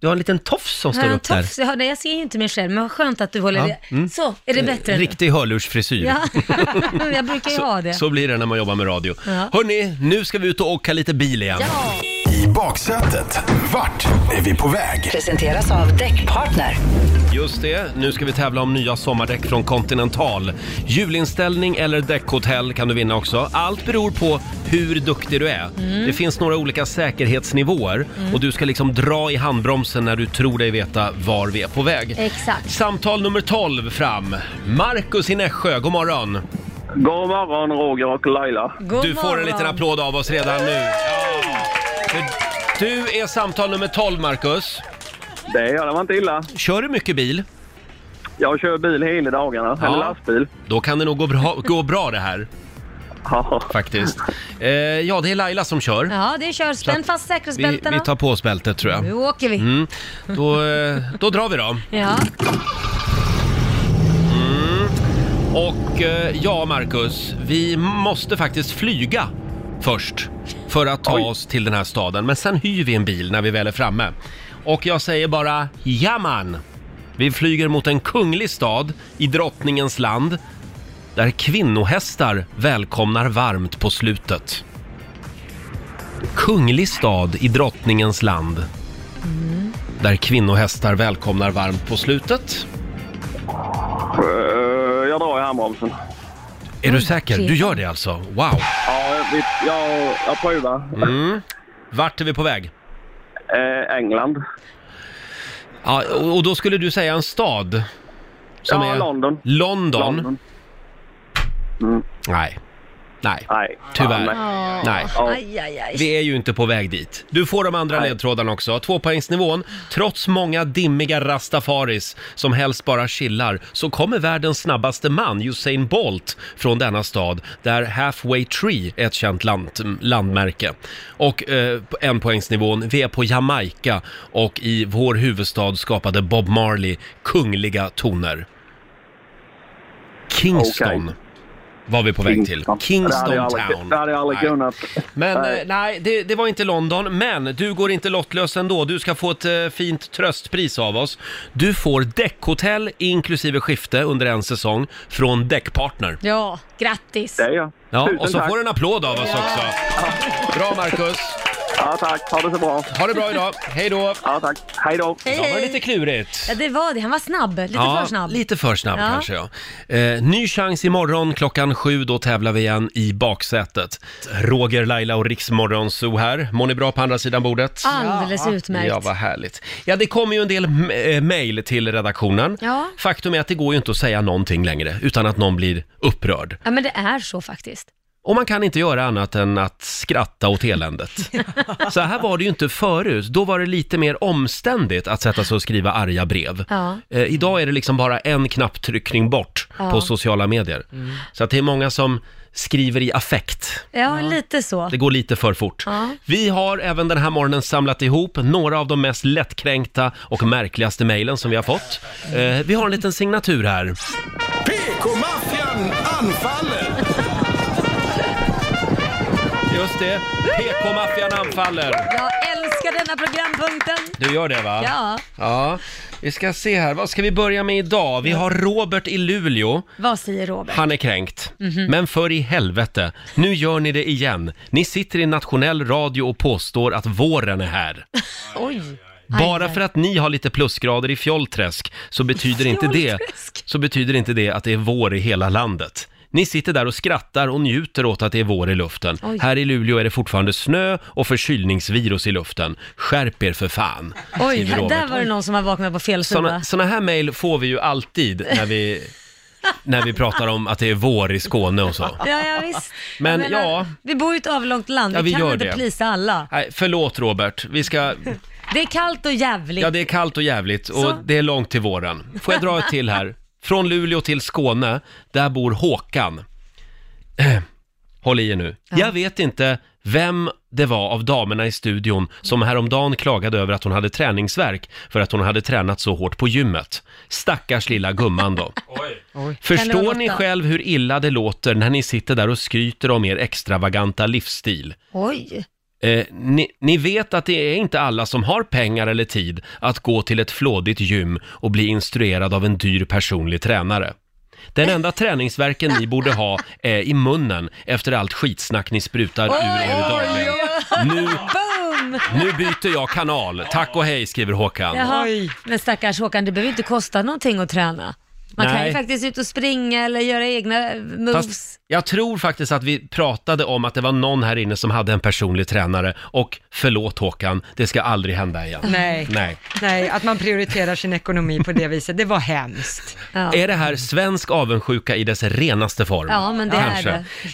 [SPEAKER 1] Du har en liten tofs som
[SPEAKER 2] Har
[SPEAKER 1] står
[SPEAKER 2] jag en
[SPEAKER 1] upp där.
[SPEAKER 2] tofs? Ja, nej, jag ser ju inte mig själv, men vad skönt att du håller
[SPEAKER 1] Ja, Mm.
[SPEAKER 2] det. Så, är det bättre? nu?
[SPEAKER 1] Riktig hörlursfrisyr.
[SPEAKER 2] Ja, jag brukar ju ha det.
[SPEAKER 1] Så blir det när man jobbar med radio.
[SPEAKER 2] Ja.
[SPEAKER 1] Hörni, nu ska vi ut och åka lite bil igen.
[SPEAKER 2] Ja.
[SPEAKER 4] I baksätet, vart är vi på väg?
[SPEAKER 5] Presenteras av Däckpartner.
[SPEAKER 1] Just det, nu ska vi tävla om nya sommardäck från Continental. Julinställning eller däckhotell kan du vinna också. Allt beror på hur duktig du är. Det finns några olika säkerhetsnivåer och du ska liksom dra i handbromsen när du tror dig veta var vi är på väg.
[SPEAKER 2] Exakt.
[SPEAKER 1] Samtal nummer 12 fram. Markus i Nässjö, god morgon.
[SPEAKER 7] God morgon Roger och Laila.
[SPEAKER 2] God
[SPEAKER 1] Du får en
[SPEAKER 2] morgon.
[SPEAKER 1] liten applåd av oss redan nu. Ja. För Du är samtal nummer 12, Markus.
[SPEAKER 7] Det, ja, det var inte illa.
[SPEAKER 1] Kör du mycket bil?
[SPEAKER 7] Jag kör bil hela dagarna,
[SPEAKER 1] Ja.
[SPEAKER 7] eller lastbil.
[SPEAKER 1] Då kan det nog gå bra, gå bra det här.
[SPEAKER 7] Ja.
[SPEAKER 1] faktiskt. Eh, ja, det är Laila som kör.
[SPEAKER 2] Ja, det kör. Spänn fast
[SPEAKER 1] Vi,
[SPEAKER 2] säkerhetsbältena.
[SPEAKER 1] vi tar på oss bältet tror
[SPEAKER 2] Nu
[SPEAKER 1] jag.
[SPEAKER 2] åker vi.
[SPEAKER 1] Mm. Då, eh, då drar vi då.
[SPEAKER 2] Ja.
[SPEAKER 1] Och eh, ja, Marcus, vi måste faktiskt flyga först för att ta oss till den här staden. Men sen hyr vi en bil när vi väl är framme. Och jag säger bara, jaman! Vi flyger mot en kunglig stad i drottningens land där kvinnohästar välkomnar varmt på slutet. Kunglig stad i drottningens land. Där kvinnohästar välkomnar varmt på slutet.
[SPEAKER 7] Eh, Jag drar i handbromsen.
[SPEAKER 1] Är du säker? Du gör det alltså? Wow! Mm.
[SPEAKER 7] Ja, vi, jag, jag provar.
[SPEAKER 1] Vart är vi på väg?
[SPEAKER 7] Eh, England.
[SPEAKER 1] Ja, och och då skulle du säga en stad?
[SPEAKER 7] Ja, London.
[SPEAKER 1] London?
[SPEAKER 7] London.
[SPEAKER 1] Nej. Nej,
[SPEAKER 6] Nej.
[SPEAKER 1] tyvärr.
[SPEAKER 6] Ja,
[SPEAKER 2] Ja.
[SPEAKER 1] Nej.
[SPEAKER 2] Aj, aj, aj.
[SPEAKER 1] Vi är ju inte på väg dit. Du får de andra ledtrådarna också. Tvåpoängsnivån. Trots många dimmiga rastafaris som helst bara chillar så kommer världens snabbaste man, Usain Bolt, från denna stad där Halfway Tree är ett känt land, landmärke. Och eh, på en poängsnivån, vi är på Jamaica och i vår huvudstad skapade Bob Marley kungliga toner. Kingston
[SPEAKER 6] Okej.
[SPEAKER 1] var vi på väg till.
[SPEAKER 6] Det
[SPEAKER 1] Kingston
[SPEAKER 6] hade jag
[SPEAKER 1] Town.
[SPEAKER 6] aldrig- Det hade jag aldrig
[SPEAKER 1] Nej.
[SPEAKER 6] kunnat.
[SPEAKER 1] Men nej, nej det, det var inte London. Men du går inte lottlös ändå. Du ska få ett eh, fint tröstpris av oss. Du får däckhotell inklusive skifte under en säsong från Däckpartner.
[SPEAKER 2] Ja, grattis.
[SPEAKER 6] Det är jag.
[SPEAKER 1] Ja,
[SPEAKER 6] Tusen
[SPEAKER 1] och så
[SPEAKER 6] tack.
[SPEAKER 1] får du en applåd av oss också. Bra Marcus.
[SPEAKER 6] Ja, tack. Ha det så bra.
[SPEAKER 1] Ha det bra idag. Hej då.
[SPEAKER 6] Ja, tack. Hej då.
[SPEAKER 2] Hej,
[SPEAKER 1] Ja, var det lite
[SPEAKER 2] hej.
[SPEAKER 1] klurigt.
[SPEAKER 2] Ja, det var det. Han var snabb. Lite för snabb.
[SPEAKER 1] Lite för snabb
[SPEAKER 2] Ja.
[SPEAKER 1] kanske ja. Eh, ny chans imorgon klockan sju, då tävlar vi igen i baksätet. Roger, Laila och Riksmorgon Zoo här. Mår ni bra på andra sidan bordet?
[SPEAKER 2] Alldeles
[SPEAKER 1] Ja,
[SPEAKER 2] utmärkt.
[SPEAKER 1] vad härligt. Ja, det kommer ju en del m- eh, mejl till redaktionen.
[SPEAKER 2] Ja.
[SPEAKER 1] Faktum är att det går ju inte att säga någonting längre utan att någon blir upprörd.
[SPEAKER 2] Ja, men det är så faktiskt.
[SPEAKER 1] Och man kan inte göra annat än att skratta åt eländet. Så här var det ju inte förut. Då var det lite mer omständigt att sätta sig och skriva arga brev.
[SPEAKER 2] Ja.
[SPEAKER 1] Eh, idag är det liksom bara en knapptryckning bort
[SPEAKER 2] Ja. Mm.
[SPEAKER 1] på sociala medier. Så att det är många som skriver i affekt.
[SPEAKER 2] Ja, lite så.
[SPEAKER 1] Det går lite för fort.
[SPEAKER 2] Ja.
[SPEAKER 1] Vi har även den här morgonen samlat ihop några av de mest lättkränkta och märkligaste mejlen som vi har fått. Eh, vi har en liten signatur här.
[SPEAKER 4] PK-maffian anfaller!
[SPEAKER 1] Just det, PK-maffian anfaller.
[SPEAKER 2] Jag älskar denna programpunkten.
[SPEAKER 1] Du gör det va?
[SPEAKER 2] Ja,
[SPEAKER 1] Ja. Vi ska se här, vad ska vi börja med idag? Vi har Robert i Luleå.
[SPEAKER 2] vad säger Robert?
[SPEAKER 1] Han är kränkt.
[SPEAKER 2] Mhm.
[SPEAKER 1] Men för i helvete, nu gör ni det igen. Ni sitter i nationell radio och påstår att våren är här.
[SPEAKER 2] Oj.
[SPEAKER 1] Bara
[SPEAKER 2] Aj, aj.
[SPEAKER 1] för att ni har lite plusgrader i Fjollträsk så betyder inte det,
[SPEAKER 2] Fjollträsk.
[SPEAKER 1] så betyder inte det att det är vår i hela landet. Ni sitter där och skrattar och njuter åt att det är vår i luften.
[SPEAKER 2] Oj.
[SPEAKER 1] Här i Luleå är det fortfarande snö och förkylningsvirus i luften. Skärp er för fan,
[SPEAKER 2] Oj,
[SPEAKER 1] skriver
[SPEAKER 2] där
[SPEAKER 1] Robert.
[SPEAKER 2] var det någon som har vaknat på fel sida.
[SPEAKER 1] Såna, såna här mejl får vi ju alltid när vi, när vi pratar om att det är vår i Skåne och så.
[SPEAKER 2] Ja, ja visst.
[SPEAKER 1] Men,
[SPEAKER 2] Jag menar,
[SPEAKER 1] ja.
[SPEAKER 2] Vi bor i ett avlångt land,
[SPEAKER 1] Ja,
[SPEAKER 2] vi,
[SPEAKER 1] vi
[SPEAKER 2] kan
[SPEAKER 1] gör
[SPEAKER 2] inte
[SPEAKER 1] det.
[SPEAKER 2] plisa alla.
[SPEAKER 1] Nej, förlåt Robert, vi ska,
[SPEAKER 2] Det är kallt och jävligt.
[SPEAKER 1] Ja, det är kallt och jävligt och
[SPEAKER 2] Så.
[SPEAKER 1] det är långt till våren. Får jag dra ett till här? Från Luleå till Skåne, där bor Håkan. Eh, Håll i er nu. Jag vet inte vem det var av damerna i studion som häromdagen klagade över att hon hade träningsverk för att hon hade tränat så hårt på gymmet. Stackars lilla gumman då.
[SPEAKER 2] Kan det
[SPEAKER 1] Förstår
[SPEAKER 2] vara
[SPEAKER 1] ni
[SPEAKER 2] Lotta?
[SPEAKER 1] själv hur illa det låter när ni sitter där och skryter om er extravaganta livsstil?
[SPEAKER 2] Oj.
[SPEAKER 1] Eh, ni, ni vet att det är inte alla som har pengar eller tid att gå till ett flådigt gym och bli instruerad av en dyr personlig tränare. Den enda träningsverken ni borde ha är i munnen efter allt skitsnack ni sprutar ur er dagligen. Nu,
[SPEAKER 2] Boom!
[SPEAKER 1] nu byter jag kanal. Tack och hej, skriver Håkan.
[SPEAKER 2] Jaha.
[SPEAKER 3] Oj.
[SPEAKER 2] Men stackars Håkan, det behöver inte kosta någonting att träna. Man kan
[SPEAKER 1] Nej.
[SPEAKER 2] ju faktiskt ut och springa eller göra egna moves.
[SPEAKER 1] Fast jag tror faktiskt att vi pratade om att det var någon här inne som hade en personlig tränare och förlåt Håkan, det ska aldrig hända igen.
[SPEAKER 3] Nej.
[SPEAKER 1] Nej.
[SPEAKER 3] Nej, att man prioriterar sin ekonomi på det viset, det var hemskt.
[SPEAKER 2] Ja.
[SPEAKER 1] Är det här svensk avundsjuka i dess renaste form?
[SPEAKER 2] Ja, men det är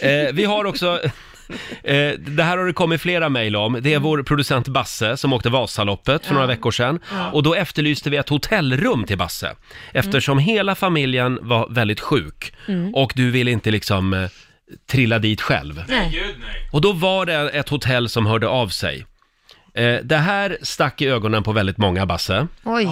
[SPEAKER 1] det. Eh, vi har också... Eh, det här har det kommit flera mejl om. Det är
[SPEAKER 2] Mm.
[SPEAKER 1] vår producent Basse som åkte Vasaloppet för några veckor sedan. Och då efterlyste vi ett hotellrum till Basse.
[SPEAKER 2] Mm.
[SPEAKER 1] Eftersom hela familjen var väldigt sjuk.
[SPEAKER 2] Mm.
[SPEAKER 1] Och du ville inte liksom eh, trilla dit själv.
[SPEAKER 2] Nej.
[SPEAKER 1] Och då var det ett hotell som hörde av sig. Eh, det här stack i ögonen på väldigt många, Basse.
[SPEAKER 2] Oj.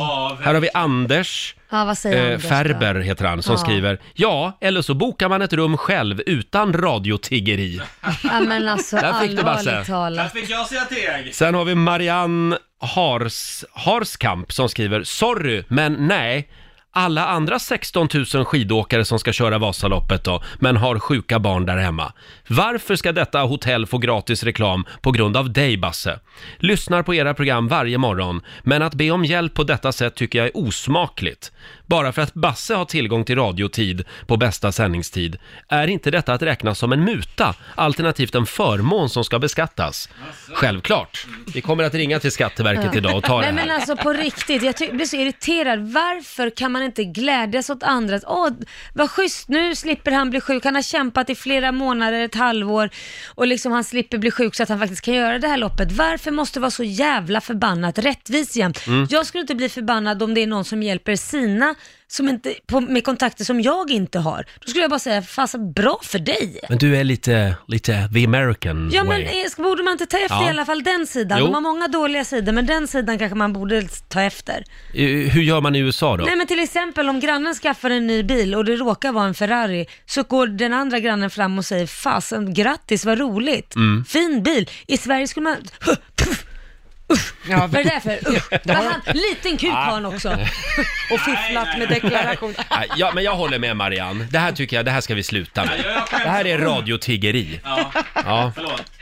[SPEAKER 1] Här har vi Anders.
[SPEAKER 2] Ja, vad säger
[SPEAKER 1] Eh,
[SPEAKER 2] Anders då?
[SPEAKER 1] Ferber heter han som
[SPEAKER 2] Ja.
[SPEAKER 1] skriver Ja, eller så bokar man ett rum själv utan radiotiggeri.
[SPEAKER 2] Ja, men alltså
[SPEAKER 1] Där fick du, Basse.
[SPEAKER 2] allvarligt talat.
[SPEAKER 10] fick jag säga till.
[SPEAKER 1] Sen har vi Marianne Hars, Harskamp som skriver Sorry, men nej. Alla andra 16 000 skidåkare som ska köra Vasaloppet då, men har sjuka barn där hemma. Varför ska detta hotell få gratis reklam på grund av dig, Basse? Lyssnar på era program varje morgon, men att be om hjälp på detta sätt tycker jag är osmakligt. bara för att Basse har tillgång till radiotid på bästa sändningstid, är inte detta att räkna som en muta, alternativt en förmån som ska beskattas? Självklart.
[SPEAKER 10] Mm.
[SPEAKER 1] Vi kommer att ringa till Skatteverket idag och ta det
[SPEAKER 2] men, men
[SPEAKER 1] här.
[SPEAKER 2] alltså på riktigt, jag ty- blir så irriterad. Varför kan man inte glädjas åt andra? Att, Åh, vad schysst, nu slipper han bli sjuk. Han har kämpat i flera månader, ett halvår och liksom han slipper bli sjuk så att han faktiskt kan göra det här loppet. Varför måste det vara så jävla förbannat rättvist jämt?
[SPEAKER 5] Mm.
[SPEAKER 2] Jag skulle inte bli förbannad om det är någon som hjälper sina som inte, på, med kontakter som jag inte har. Då skulle jag bara säga, fasen bra för dig.
[SPEAKER 1] Men du är lite, lite the American
[SPEAKER 2] Ja men
[SPEAKER 1] way.
[SPEAKER 2] eh, ska- borde man inte ta efter
[SPEAKER 1] Ja.
[SPEAKER 2] i alla fall den sidan?
[SPEAKER 1] Jo.
[SPEAKER 2] De har många dåliga sidor men den sidan kanske man borde ta efter.
[SPEAKER 1] Eh, Hur gör man i USA då?
[SPEAKER 2] Nej men till exempel om grannen skaffar en ny bil och det råkar vara en Ferrari så går den andra grannen fram och säger fasen grattis vad roligt,
[SPEAKER 5] Mm.
[SPEAKER 2] fin bil. I Sverige skulle man
[SPEAKER 3] Ja,
[SPEAKER 2] vad är det där för? Usch, vad han, liten kuk
[SPEAKER 1] Ah.
[SPEAKER 2] har han också.
[SPEAKER 3] Och fifflat med deklaration.
[SPEAKER 1] Nej, Ja, men jag håller med Marianne. Det här tycker jag, det här ska vi sluta med. Det här är radiotiggeri.
[SPEAKER 10] Ja,
[SPEAKER 1] Ja,
[SPEAKER 10] förlåt.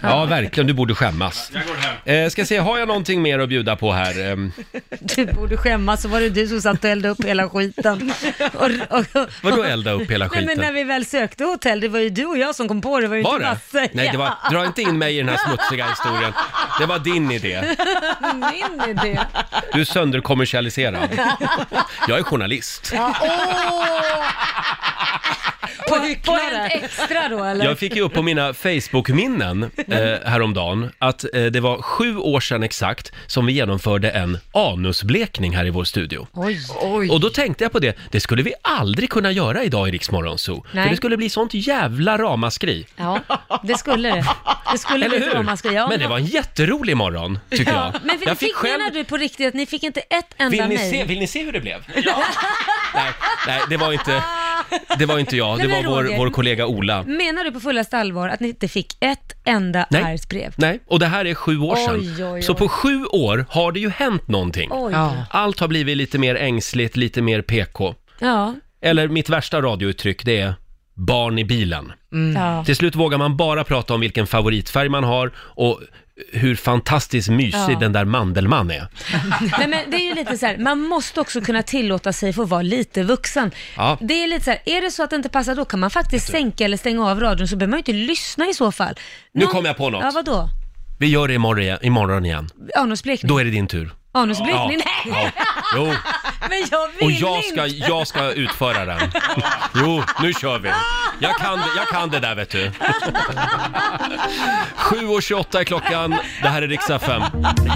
[SPEAKER 1] ja verkligen. Du borde skämmas.
[SPEAKER 10] Jag går hem.
[SPEAKER 1] Eh, ska se, har jag någonting mer att bjuda på här? Ehm,
[SPEAKER 2] Du borde skämmas, så var det du som satt och eldade upp hela skiten. Och, och, och,
[SPEAKER 1] Vadå elda upp hela
[SPEAKER 2] Nej men när
[SPEAKER 1] skiten?
[SPEAKER 2] vi väl sökte hotell, det var ju du och jag som kom på det, det var ju
[SPEAKER 1] Var
[SPEAKER 2] inte
[SPEAKER 1] det?
[SPEAKER 2] Basse.
[SPEAKER 1] Nej, det var, dra inte in mig i den här smutsiga historien. Det var din idé.
[SPEAKER 2] Min idé.
[SPEAKER 1] Du är sönderkommersialiserad. Jag är journalist.
[SPEAKER 2] Ja, åh! På, på en extra då eller?
[SPEAKER 1] Jag fick ju upp på mina Facebook-minnen eh, häromdagen att eh, det var sju år sedan exakt som vi genomförde en anusblekning här i vår studio.
[SPEAKER 2] Oj.
[SPEAKER 1] Och då tänkte jag på det, det skulle vi aldrig kunna göra idag i Rix Morgon Zoo. För
[SPEAKER 2] Nej.
[SPEAKER 1] det skulle bli sånt jävla ramaskri.
[SPEAKER 2] Ja, det skulle det. Det skulle
[SPEAKER 1] Eller
[SPEAKER 2] bli ett
[SPEAKER 1] hur?
[SPEAKER 2] ramaskri. Ja,
[SPEAKER 1] Men det var en jätterolig morgon, tycker
[SPEAKER 2] ja,
[SPEAKER 1] jag.
[SPEAKER 2] Men för
[SPEAKER 1] jag
[SPEAKER 2] fick menar du på riktigt att ni fick inte ett
[SPEAKER 1] Vill
[SPEAKER 2] enda
[SPEAKER 1] ni,
[SPEAKER 2] mejl?
[SPEAKER 1] se, vill ni se hur det blev? nej, nej, det var inte, det var inte jag. Det var
[SPEAKER 2] Nej, men
[SPEAKER 1] vår,
[SPEAKER 2] Roger.
[SPEAKER 1] vår kollega Ola.
[SPEAKER 2] Menar du på fullaste allvar att ni inte fick ett enda
[SPEAKER 1] Nej.
[SPEAKER 2] argt brev?
[SPEAKER 1] Nej, och det här är sju år
[SPEAKER 2] Oj,
[SPEAKER 1] sedan.
[SPEAKER 2] oj,
[SPEAKER 1] Så
[SPEAKER 2] oj.
[SPEAKER 1] på sju år har det ju hänt någonting.
[SPEAKER 2] Oj. Ja.
[SPEAKER 1] Allt har blivit lite mer ängsligt, lite mer PK.
[SPEAKER 2] Ja.
[SPEAKER 1] Eller mitt värsta radiouttryck, det är barn i bilen.
[SPEAKER 2] Ja.
[SPEAKER 1] Till slut vågar man bara prata om vilken favoritfärg man har och hur fantastiskt mysig
[SPEAKER 2] Ja.
[SPEAKER 1] den där Mandelmann är.
[SPEAKER 2] Nej, men det är ju lite så här, man måste också kunna tillåta sig få vara lite vuxen.
[SPEAKER 1] Ja.
[SPEAKER 2] Det är lite så här, är det så att det inte passar då kan man faktiskt sänka eller stänga av radion så behöver man ju inte lyssna i så fall.
[SPEAKER 1] Nu kom jag på något.
[SPEAKER 2] Ja, vadå?
[SPEAKER 1] Vi gör det imorgon igen. Imorgon igen.
[SPEAKER 2] Anusblekning?
[SPEAKER 1] Då är det din tur.
[SPEAKER 2] Anusblekning?
[SPEAKER 1] Ja.
[SPEAKER 2] Nej!
[SPEAKER 1] Ja. Jo,
[SPEAKER 2] Men jag vill
[SPEAKER 1] och jag
[SPEAKER 2] inte!
[SPEAKER 1] ska, jag ska utföra den. Jo, nu kör vi. Jag kan, jag kan det där vet du. 7.28 är klockan, det här är riksdag 5.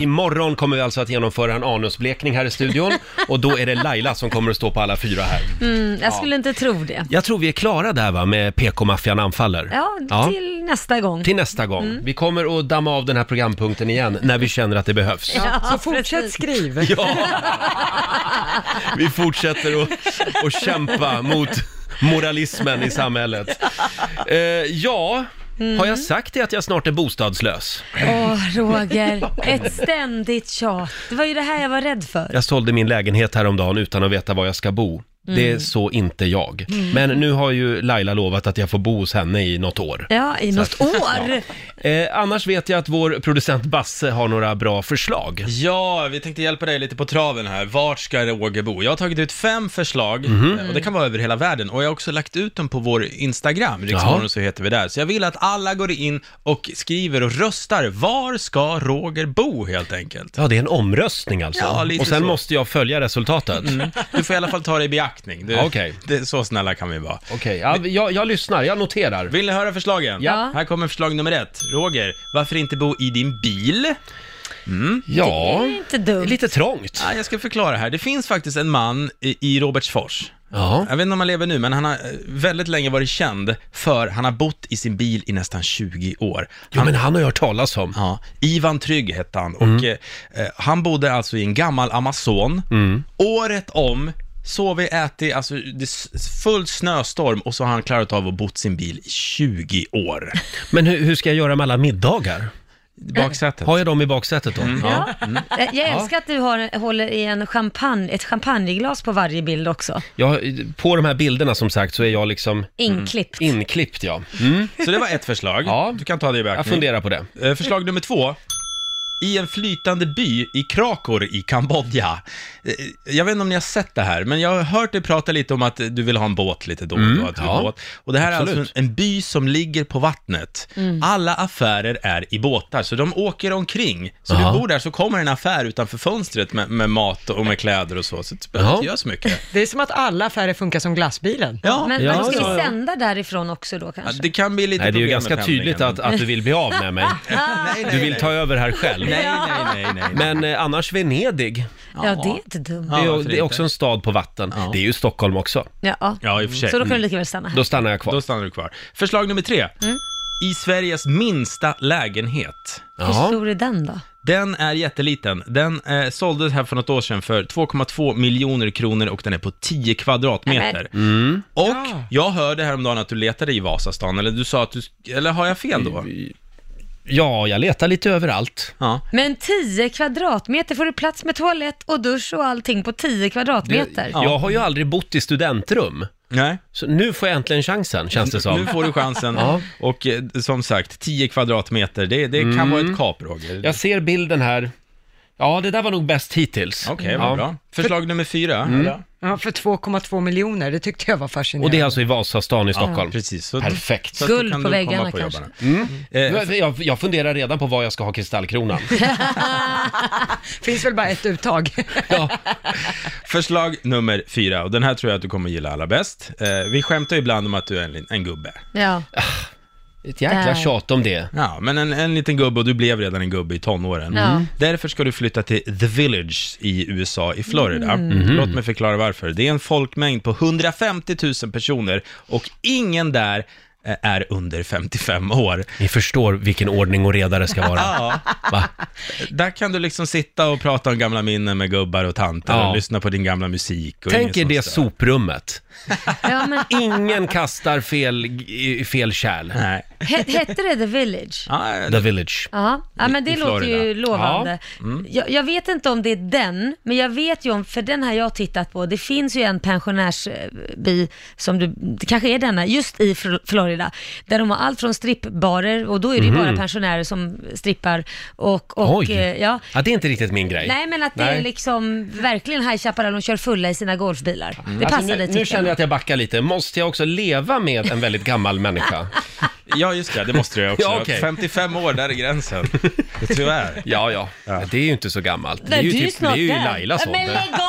[SPEAKER 1] Imorgon kommer vi alltså att genomföra en anusblekning här i studion och då är det Laila som kommer att stå på alla fyra här.
[SPEAKER 2] Mm, jag
[SPEAKER 1] Ja.
[SPEAKER 2] skulle inte tro det.
[SPEAKER 1] Jag tror vi är klara där va, med PK-maffian anfaller.
[SPEAKER 2] Ja, till nästa gång.
[SPEAKER 1] Till nästa gång.
[SPEAKER 2] Mm.
[SPEAKER 1] Vi kommer att damma av den här programpunkten igen när vi känner att det behövs.
[SPEAKER 3] Ja, så fortsätt skriv.
[SPEAKER 1] Vi fortsätter att, att kämpa mot moralismen i samhället. Eh, ja, har
[SPEAKER 2] Mm.
[SPEAKER 1] jag sagt det att jag snart är bostadslös?
[SPEAKER 2] Åh, Roger. Ett ständigt tjat. Det var ju det här jag var rädd för.
[SPEAKER 1] Jag sålde min lägenhet häromdagen utan att veta var jag ska bo. Det är
[SPEAKER 2] Mm.
[SPEAKER 1] så inte jag.
[SPEAKER 2] Mm.
[SPEAKER 1] Men nu har ju Laila lovat att jag får bo hos henne i något år.
[SPEAKER 2] Ja, i
[SPEAKER 1] Så
[SPEAKER 2] något
[SPEAKER 1] att-
[SPEAKER 2] år.
[SPEAKER 1] Eh, annars vet jag att vår producent Basse har några bra förslag.
[SPEAKER 10] Ja, vi tänkte hjälpa dig lite på traven här. Vart ska Roger bo? Jag har tagit ut fem förslag,
[SPEAKER 1] Mhm.
[SPEAKER 10] eh, och det kan vara över hela världen. Och jag har också lagt ut dem på vår Instagram, Riksmorgon så heter vi där. Så jag vill att alla går in och skriver och röstar. Var ska Roger bo, helt enkelt?
[SPEAKER 1] Ja, det är en omröstning alltså.
[SPEAKER 10] Ja, lite
[SPEAKER 1] och sen
[SPEAKER 10] så. Mm.
[SPEAKER 1] måste jag följa resultatet.
[SPEAKER 10] Du får i alla fall ta det i beaktning. Du,
[SPEAKER 1] Ja, okej.
[SPEAKER 10] det, så snälla kan vi vara.
[SPEAKER 1] Okej, ja, jag, jag lyssnar, jag noterar.
[SPEAKER 10] Vill ni höra förslagen?
[SPEAKER 1] Ja.
[SPEAKER 10] Här kommer förslag nummer ett. Roger, varför inte bo i din bil? Mm.
[SPEAKER 1] Ja,
[SPEAKER 2] Det är inte dumt.
[SPEAKER 1] lite trångt.
[SPEAKER 10] Ja, jag ska förklara här. Det finns faktiskt en man i, i Robertsfors.
[SPEAKER 1] Ja.
[SPEAKER 10] Jag vet inte om han lever nu, men han har eh, väldigt länge varit känd för han har bott i sin bil i nästan 20 år.
[SPEAKER 1] Jo, men han har jag hört talas om.
[SPEAKER 10] Ja, Ivan Trygg hette han och
[SPEAKER 1] Mm.
[SPEAKER 10] eh, eh, han bodde alltså i en gammal Amazon.
[SPEAKER 1] Mm.
[SPEAKER 10] Året om, sovit, ätit, alltså det är full snöstorm och så har han klarat av att bott sin bil i 20 år.
[SPEAKER 1] Men hur, hur ska jag göra med alla middagar?
[SPEAKER 10] Baksätet. Mm.
[SPEAKER 1] Har jag dem i baksätet då? Ja.
[SPEAKER 2] Eh, Jag älskar att du har, håller i en champagne, ett champagneglas på varje bild också.
[SPEAKER 1] Jag, på de här bilderna som sagt så är jag liksom...
[SPEAKER 2] Inklippt.
[SPEAKER 1] Mm. Inklippt ja. Mm.
[SPEAKER 10] Så det var ett förslag. Du kan ta det i beaktning.
[SPEAKER 1] Jag funderar på det.
[SPEAKER 10] Eh, Förslag nummer två. i en flytande by i Krakor i Kambodja. Eh, Jag vet inte om ni har sett det här, men jag har hört dig prata lite om att du vill ha en båt lite då och
[SPEAKER 1] Mm,
[SPEAKER 10] då. Att du
[SPEAKER 1] ja.
[SPEAKER 10] har båt. Och det här är
[SPEAKER 1] Absolut.
[SPEAKER 10] alltså en by som ligger på vattnet.
[SPEAKER 1] Mm.
[SPEAKER 10] Alla affärer är i båtar, så de åker omkring. Så
[SPEAKER 1] Ja.
[SPEAKER 10] du bor där så kommer en affär utanför fönstret med, med mat och med kläder och så, så det behöver inte göra så mycket.
[SPEAKER 3] Det är som att alla affärer funkar som glassbilen.
[SPEAKER 10] Ja,
[SPEAKER 2] Men
[SPEAKER 10] ja,
[SPEAKER 2] man ska
[SPEAKER 10] ja,
[SPEAKER 2] ju
[SPEAKER 10] ja.
[SPEAKER 2] sända därifrån också då kanske?
[SPEAKER 10] Det kan bli lite
[SPEAKER 1] Nej, det är ju
[SPEAKER 10] problem
[SPEAKER 1] ganska
[SPEAKER 10] med
[SPEAKER 1] tydligt att,
[SPEAKER 10] pendlingen.
[SPEAKER 1] att du vill bli av med mig. Du vill ta över här själv.
[SPEAKER 10] Nej, nej, nej, nej, nej.
[SPEAKER 1] Men eh, annars Venedig.
[SPEAKER 2] Ja, det är inte dumt.
[SPEAKER 1] Det är, det är också en stad på vatten. Det är ju Stockholm också.
[SPEAKER 2] Ja, ja.
[SPEAKER 10] Ja, i och för sig.
[SPEAKER 2] Så då kan du lika väl stanna här. Mm.
[SPEAKER 1] Då stannar jag kvar.
[SPEAKER 10] Då stannar du kvar. Förslag nummer tre. I Sveriges minsta lägenhet.
[SPEAKER 2] Hur stor är den då?
[SPEAKER 10] Den är jätteliten. Den eh, såldes här för något år sedan för 2,2 miljoner kronor och den är på 10 kvadratmeter.
[SPEAKER 1] Mm.
[SPEAKER 10] Och jag hörde häromdagen att du letade i Vasastan, eller du sa att du... Eller har jag fel då?
[SPEAKER 1] Ja, jag letar lite överallt.
[SPEAKER 10] Ja.
[SPEAKER 2] Men 10 kvadratmeter får du plats med toalett och dusch och allting på 10 kvadratmeter.
[SPEAKER 1] Jag har ju aldrig bott i studentrum.
[SPEAKER 10] Nej.
[SPEAKER 1] Så nu får jag äntligen chansen, känns det som.
[SPEAKER 10] Nu får du chansen.
[SPEAKER 1] Ja.
[SPEAKER 10] Och eh, som sagt, 10 kvadratmeter, det, det kan
[SPEAKER 1] Mm.
[SPEAKER 10] vara ett kap, Roger.
[SPEAKER 1] Jag ser bilden här. Ja, det där var nog bäst hittills.
[SPEAKER 10] Okej, vad
[SPEAKER 1] ja. Mm.
[SPEAKER 10] bra. Förslag nummer fyra. eller?
[SPEAKER 3] Ja, för 2,2 miljoner, det tyckte jag var fascinerande.
[SPEAKER 1] Och det är alltså i Vasastan i
[SPEAKER 10] Ja,
[SPEAKER 1] Stockholm.
[SPEAKER 10] precis. Så-
[SPEAKER 1] Perfekt.
[SPEAKER 10] så att du
[SPEAKER 2] Guld
[SPEAKER 10] kan
[SPEAKER 2] på
[SPEAKER 10] då komma
[SPEAKER 2] väggarna kanske.
[SPEAKER 10] jobbarna.
[SPEAKER 1] Mm.
[SPEAKER 10] Eh,
[SPEAKER 1] Jag- Jag, jag funderar redan på var jag ska ha kristallkronan.
[SPEAKER 3] finns väl bara ett uttag.
[SPEAKER 10] Förslag nummer fyra, och den här tror jag att du kommer gilla allra bäst. Eh, vi skämtar ju ibland om att du är en, li- en gubbe.
[SPEAKER 2] Ja.
[SPEAKER 1] Ah, Ett jäkla
[SPEAKER 2] Där.
[SPEAKER 1] tjat om det.
[SPEAKER 10] Ja, men en, en liten gubbe och du blev redan en gubbe i tonåren.
[SPEAKER 2] Ja. Mm.
[SPEAKER 10] Därför ska du flytta till The Village i USA, i Florida.
[SPEAKER 1] Mhm.
[SPEAKER 10] Låt mig förklara varför. Det är en folkmängd på 150 000 personer och ingen där eh, är under 55 år.
[SPEAKER 1] Ni förstår vilken ordning och reda det ska vara.
[SPEAKER 10] Ja,
[SPEAKER 1] Va?
[SPEAKER 10] där kan du liksom sitta och prata om gamla minnen med gubbar och tanter
[SPEAKER 1] Ja.
[SPEAKER 10] och lyssna på din gamla musik. Och ingen
[SPEAKER 1] Tänk er
[SPEAKER 10] som
[SPEAKER 1] det
[SPEAKER 10] stör.
[SPEAKER 1] soprummet.
[SPEAKER 2] ja men,
[SPEAKER 1] Ingen kastar fel, i fel kärl.
[SPEAKER 10] Nej.
[SPEAKER 2] he, hette det The Village?
[SPEAKER 10] Ja,
[SPEAKER 1] The Village.
[SPEAKER 2] Ja, ja men det
[SPEAKER 10] i
[SPEAKER 2] låter ju
[SPEAKER 10] Florida.
[SPEAKER 2] lovande.
[SPEAKER 1] Mm.
[SPEAKER 2] Jag, jag vet inte om det är den, men jag vet ju om, för den här jag har tittat på, det finns ju en pensionärsby som du, det kanske är denna, just i Fl- Florida, där de har allt från strippbarer, och då är det ju bara pensionärer som strippar, och, och
[SPEAKER 1] Mhm. Oj.
[SPEAKER 2] eh, ja.
[SPEAKER 1] Ja, det är inte riktigt min grej.
[SPEAKER 2] Nej men att det
[SPEAKER 1] Nej.
[SPEAKER 2] är liksom verkligen High Chaparral, de kör fulla i sina golfbilar. Det
[SPEAKER 1] Alltså,
[SPEAKER 2] passar
[SPEAKER 1] nu,
[SPEAKER 2] dig
[SPEAKER 1] nu känner jag att jag backar lite. Måste jag också leva med en väldigt gammal människa?
[SPEAKER 10] Ja, just det. Det måste du ju också.
[SPEAKER 1] Ja, okej.
[SPEAKER 10] 55 år, där är gränsen. Tyvärr.
[SPEAKER 1] Ja, ja. Det är ju inte så gammalt. Det är ju,
[SPEAKER 2] Men du är
[SPEAKER 1] typ, det är ju
[SPEAKER 2] snart där.
[SPEAKER 1] Lailas
[SPEAKER 2] Men
[SPEAKER 1] ålder.
[SPEAKER 2] lägg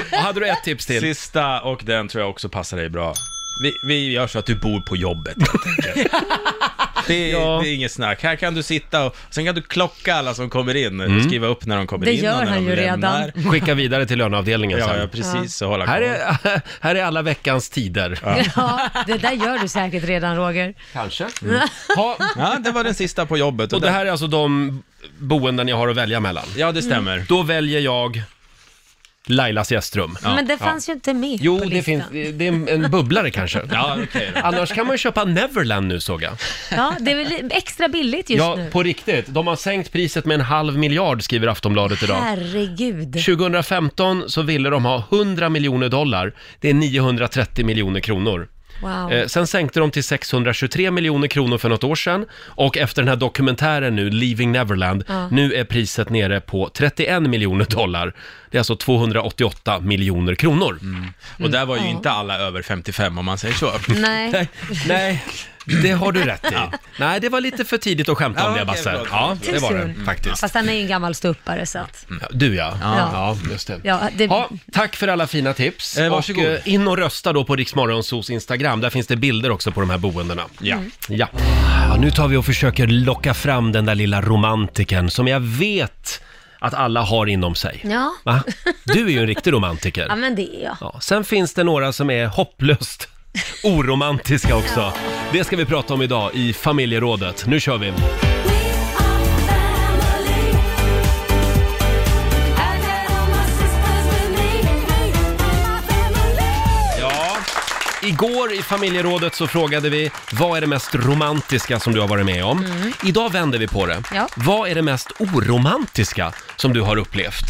[SPEAKER 2] av!
[SPEAKER 1] Vi- Hade du ett tips till?
[SPEAKER 10] Sista och den tror jag också passar dig bra. Vi, vi gör så att du bor på jobbet, helt enkelt. det, är-
[SPEAKER 1] Ja.
[SPEAKER 10] det är inget snack. Här kan du sitta och sen kan du klocka alla som kommer in,
[SPEAKER 1] Mm.
[SPEAKER 10] skriva upp när de kommer
[SPEAKER 2] Det
[SPEAKER 10] in
[SPEAKER 2] gör
[SPEAKER 10] och när
[SPEAKER 2] han
[SPEAKER 10] de
[SPEAKER 2] ju
[SPEAKER 10] lämnar.
[SPEAKER 2] redan.
[SPEAKER 1] Skicka vidare till löneavdelningen
[SPEAKER 10] Ja,
[SPEAKER 1] sen.
[SPEAKER 10] ja, precis. Så hålla
[SPEAKER 1] Här
[SPEAKER 10] koll.
[SPEAKER 1] är, här är alla veckans tider.
[SPEAKER 2] Ja, det där gör du säkert redan Roger.
[SPEAKER 1] Kanske. Mm. Ha,
[SPEAKER 10] Ja, det var den sista på jobbet.
[SPEAKER 1] och det
[SPEAKER 10] där-
[SPEAKER 1] här är alltså de boenden jag har att välja mellan.
[SPEAKER 10] Ja, det stämmer.
[SPEAKER 1] Då väljer jag Lailas gästrum.
[SPEAKER 2] Men det fanns ju inte med
[SPEAKER 1] Jo,
[SPEAKER 2] på
[SPEAKER 1] det,
[SPEAKER 2] listan.
[SPEAKER 1] finns, det är en bubblare kanske.
[SPEAKER 10] Ja, okej då.
[SPEAKER 1] Annars kan man ju köpa Neverland nu såg jag.
[SPEAKER 2] Ja, det är väl extra billigt just
[SPEAKER 1] Ja,
[SPEAKER 2] nu.
[SPEAKER 1] på riktigt. De har sänkt priset med en halv miljard skriver Aftonbladet idag.
[SPEAKER 2] Herregud.
[SPEAKER 1] 2015 så ville de ha 100 miljoner dollar. Det är 930 miljoner kronor.
[SPEAKER 2] Wow.
[SPEAKER 1] Eh, sen sänkte de till 623 miljoner kronor för något år sedan och efter den här dokumentären nu, Leaving Neverland,
[SPEAKER 2] Ja.
[SPEAKER 1] nu är priset nere på 31 miljoner dollar. Det är alltså 288 miljoner kronor.
[SPEAKER 10] Mm. Och där var ju inte alla över 55 om man säger så.
[SPEAKER 2] Nej.
[SPEAKER 1] Nej, det har du rätt i. Nej, det var lite för tidigt att skämta
[SPEAKER 10] Ja,
[SPEAKER 1] om det,
[SPEAKER 10] okej,
[SPEAKER 1] Basse.
[SPEAKER 10] förlåt.
[SPEAKER 1] Ja, det var det
[SPEAKER 2] Tusen.
[SPEAKER 1] faktiskt.
[SPEAKER 2] Fast han är ju en gammal ståuppare så att...
[SPEAKER 1] Ja, Du ja. Ja, just det.
[SPEAKER 2] Ja, det-
[SPEAKER 1] Ja, tack för alla fina tips.
[SPEAKER 10] Eh, varsågod.
[SPEAKER 1] Och eh, in och rösta då på Riksmorgonsos Instagram. Där finns det bilder också på de här boendena.
[SPEAKER 10] Ja.
[SPEAKER 1] Ja. ja, nu tar vi och försöker locka fram den där lilla romantiken som jag vet att alla har inom sig.
[SPEAKER 2] Ja.
[SPEAKER 1] Va? Du är ju en riktig romantiker.
[SPEAKER 2] Ja men det är jag.
[SPEAKER 1] Ja, sen finns det några som är hopplöst oromantiska också. Det ska vi prata om idag i familjerådet. Nu kör vi! Ja. Igår i familjerådet så frågade vi vad är det mest romantiska som du har varit med om? Idag vänder vi på det.
[SPEAKER 2] Mm. Ja.
[SPEAKER 1] Vad är det mest oromantiska som du har upplevt?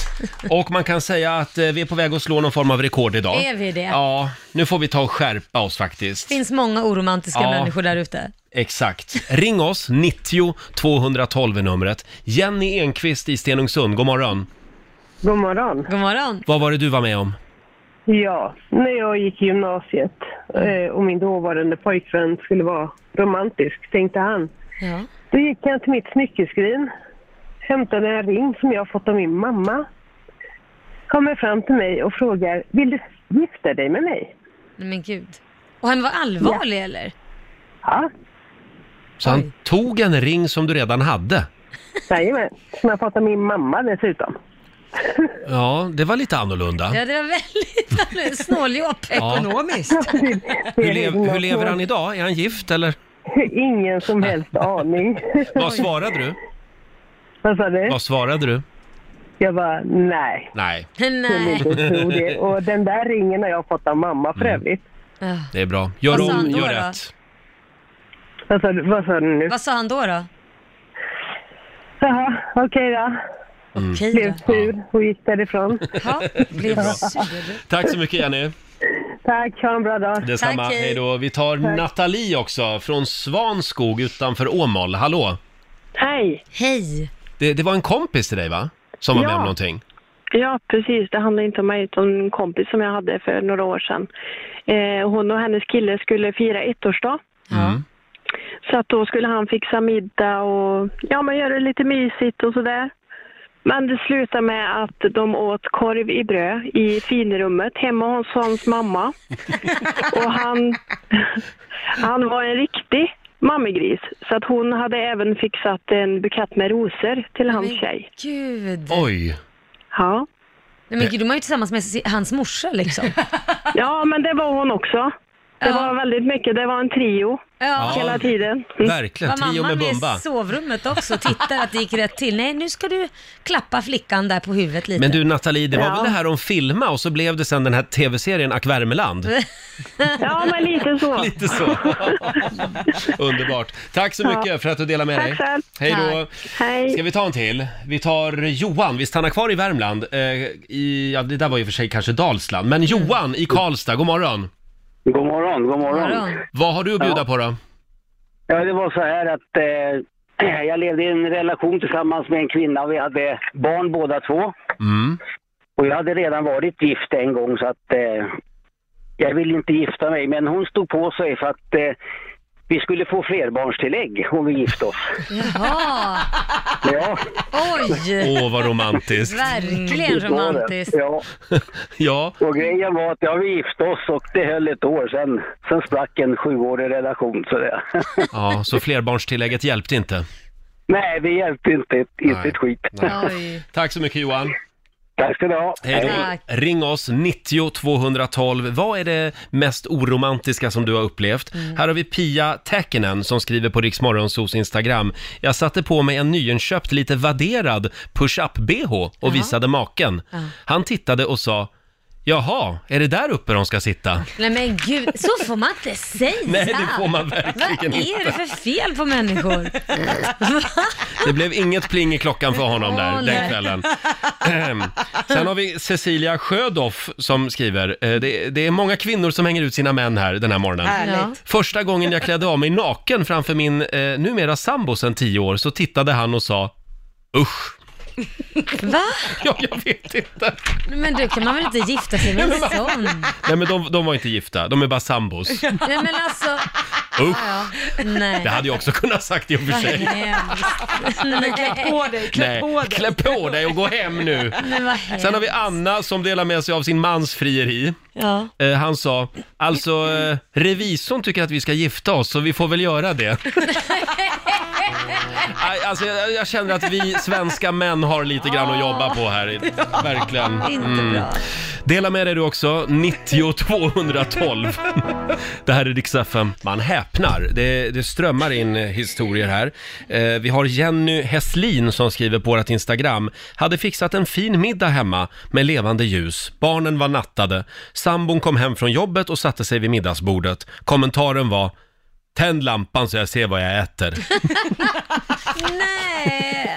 [SPEAKER 1] Och man kan säga att eh, vi är på väg att slå någon form av rekord idag.
[SPEAKER 2] Är vi det?
[SPEAKER 1] Ja, nu får vi ta och skärpa oss faktiskt.
[SPEAKER 2] Det finns många oromantiska
[SPEAKER 1] Ja.
[SPEAKER 2] människor där ute.
[SPEAKER 1] Exakt. Ring oss, 90 212 är numret. Jenny Enqvist i Stenungsund, god morgon.
[SPEAKER 11] God morgon. God morgon.
[SPEAKER 1] Vad var det du var med om?
[SPEAKER 11] Ja, när jag gick i gymnasiet eh, och min dåvarande pojkvän skulle vara romantisk, tänkte han.
[SPEAKER 2] Ja.
[SPEAKER 11] Då gick han till mitt smyckeskrin, hämtade en ring som jag fått av min mamma. Kommer fram till mig och frågar, vill du gifta dig med mig?
[SPEAKER 2] Nej men gud. Och han var allvarlig eller?
[SPEAKER 11] Ja,
[SPEAKER 1] Så han tog en ring som du redan hade.
[SPEAKER 11] jajamän. Som jag fått av min mamma dessutom.
[SPEAKER 1] Ja, det var lite annorlunda.
[SPEAKER 2] Ja, det var väldigt snåljåp
[SPEAKER 1] Ja. Hur, lev, hur lever han idag? Är han gift eller?
[SPEAKER 11] Ingen som helst aning.
[SPEAKER 1] Vad svarade du?
[SPEAKER 11] Vad sa du?
[SPEAKER 1] Vad svarade du?
[SPEAKER 11] Jag bara, nej.
[SPEAKER 1] Nej,
[SPEAKER 11] Nej. Tro det. Och den där ringen har jag fått av mamma för övrigt.
[SPEAKER 1] det är bra. Gör
[SPEAKER 11] Vad sa
[SPEAKER 1] om,
[SPEAKER 11] han då,
[SPEAKER 1] gör
[SPEAKER 11] då?
[SPEAKER 1] rätt.
[SPEAKER 11] Vad sa, du- vad sa du nu?
[SPEAKER 2] Vad sa han då då?
[SPEAKER 11] Jaha, okej då.
[SPEAKER 1] Mm.
[SPEAKER 11] Blev sur och gick därifrån.
[SPEAKER 1] blev sur. Tack så mycket Jenny.
[SPEAKER 11] Tack, ha en bra dag.
[SPEAKER 1] Detsamma, hej då. Vi tar
[SPEAKER 11] Tack.
[SPEAKER 1] Nathalie också från Svanskog utanför Åmål. Hallå!
[SPEAKER 12] Hej!
[SPEAKER 2] Hej!
[SPEAKER 1] Det, det var en kompis till dig va? Som var med
[SPEAKER 12] Ja.
[SPEAKER 1] om någonting?
[SPEAKER 12] Ja, precis. Det handlar inte om mig utan en kompis som jag hade för några år sedan. Eh, hon och hennes kille skulle fira ettårsdag.
[SPEAKER 1] Mm.
[SPEAKER 12] Så att då skulle han fixa middag och ja, man gör det lite mysigt och sådär. Men det slutade med att de åt korv i bröd i finrummet hemma hos hans mamma. Och han, han var en riktig mammegris. Så att hon hade även fixat en bukett med rosor till hans tjej.
[SPEAKER 2] Gud.
[SPEAKER 1] Oj!
[SPEAKER 12] Ja.
[SPEAKER 2] Nej men gud, de var ju tillsammans med si- hans morsa liksom.
[SPEAKER 12] Ja, men det var hon också. Det var väldigt mycket. Det var en trio
[SPEAKER 2] Ja.
[SPEAKER 12] hela tiden.
[SPEAKER 1] Verkligen,
[SPEAKER 2] Var
[SPEAKER 1] trio
[SPEAKER 2] mamma
[SPEAKER 1] med
[SPEAKER 2] med
[SPEAKER 1] Bumba.
[SPEAKER 2] i sovrummet också och tittade att det gick rätt till? Nej, nu ska du klappa flickan där på huvudet lite.
[SPEAKER 1] Men du Nathalie, det var
[SPEAKER 2] Ja.
[SPEAKER 1] väl det här om filma och så blev det sen den här tv-serien Ack Värmeland?
[SPEAKER 12] Ja, men lite så.
[SPEAKER 1] Lite så. Underbart. Tack så mycket för att du delade med
[SPEAKER 12] Tack
[SPEAKER 1] dig.
[SPEAKER 12] själv.
[SPEAKER 1] Hej då. Ska vi ta en till? Vi tar Johan, vi stannar kvar i Värmland. Eh, i, ja, det där var ju för sig kanske Dalsland, men Johan i Karlstad, god morgon.
[SPEAKER 13] God morgon, god morgon.
[SPEAKER 1] Vad har du att bjuda på då?
[SPEAKER 13] Ja, det var så här att eh, jag levde i en relation tillsammans med en kvinna. Vi hade barn båda två.
[SPEAKER 1] Mm.
[SPEAKER 13] Och jag hade redan varit gift en gång så att eh, jag ville inte gifta mig. Men hon stod på sig för att eh, vi skulle få flerbarnstillägg om vi gifte oss.
[SPEAKER 2] Jaha!
[SPEAKER 13] Ja.
[SPEAKER 2] Oj!
[SPEAKER 1] Åh, vad romantiskt.
[SPEAKER 2] Verkligen romantiskt.
[SPEAKER 13] Ja.
[SPEAKER 1] ja.
[SPEAKER 13] Och grejen var att jag vi gifte oss och det höll ett år. Sen, sen sprack en sjuårig relation. Så det.
[SPEAKER 1] Ja, så flerbarnstillägget hjälpte inte.
[SPEAKER 13] Nej, det hjälpte inte, ett- inte
[SPEAKER 1] Nej.
[SPEAKER 13] ett skit.
[SPEAKER 1] Nej. Tack så mycket Johan.
[SPEAKER 13] Tack ska du ha.
[SPEAKER 1] Hej
[SPEAKER 13] Tack.
[SPEAKER 1] då. Ring oss, 90 212. Vad är det mest oromantiska som du har upplevt? Här har vi Pia Täkinen som skriver på Riksmorgonsos Instagram. Jag satte på mig en nyinköpt, lite vadderad push-up-bh och visade maken.
[SPEAKER 2] Ja.
[SPEAKER 1] Han tittade och sa Jaha, är det där uppe de ska sitta?
[SPEAKER 2] Nej men gud, så får man inte säga!
[SPEAKER 1] Nej, det får man verkligen
[SPEAKER 2] Vad är
[SPEAKER 1] inte.
[SPEAKER 2] det för fel på människor?
[SPEAKER 1] Det blev inget pling i klockan för honom där
[SPEAKER 2] Åh,
[SPEAKER 1] den
[SPEAKER 2] nej.
[SPEAKER 1] kvällen. Ehm, Sen har vi Cecilia Sjödoff som skriver, eh, det, det är många kvinnor som hänger ut sina män här den här morgonen.
[SPEAKER 14] Härligt. Ja.
[SPEAKER 1] Första gången jag klädde av mig naken framför min eh, numera sambo sedan tio år så tittade han och sa Usch!
[SPEAKER 2] Va?
[SPEAKER 1] Ja, jag vet inte.
[SPEAKER 2] Nej, Men du, kan man väl inte gifta sig med en sån?
[SPEAKER 1] Nej men de, de var inte gifta, de är bara sambos.
[SPEAKER 2] Nej men alltså,
[SPEAKER 1] Usch!
[SPEAKER 2] ja. nej.
[SPEAKER 1] Det hade jag också kunnat sagt i och för
[SPEAKER 2] Vad
[SPEAKER 1] sig.
[SPEAKER 2] hemskt. Nej.
[SPEAKER 3] Klä på dig, klä
[SPEAKER 1] Nej,
[SPEAKER 3] på dig.
[SPEAKER 1] klä på dig och gå hem nu.
[SPEAKER 2] Men vad hemskt.
[SPEAKER 1] Sen har vi Anna som delar med sig av sin mans frieri.
[SPEAKER 2] Ja.
[SPEAKER 1] Eh, han sa, alltså eh, revisorn tycker att vi ska gifta oss så vi får väl göra det. Aj, alltså, jag, jag känner att vi svenska män har lite grann att jobba på här. Verkligen. Mm.
[SPEAKER 2] Inte bra.
[SPEAKER 1] Dela med dig du också, 90 212. Det här är Rix FM. Man häpnar. Det, det strömmar in eh, historier här. Eh, vi har Jenny Hässlin som skriver på vårt Instagram. Hade fixat en fin middag hemma med levande ljus. Barnen var nattade. Sambon kom hem från jobbet och satte sig vid middagsbordet. Kommentaren var Tänd lampan så jag ser vad jag äter.
[SPEAKER 2] Nej!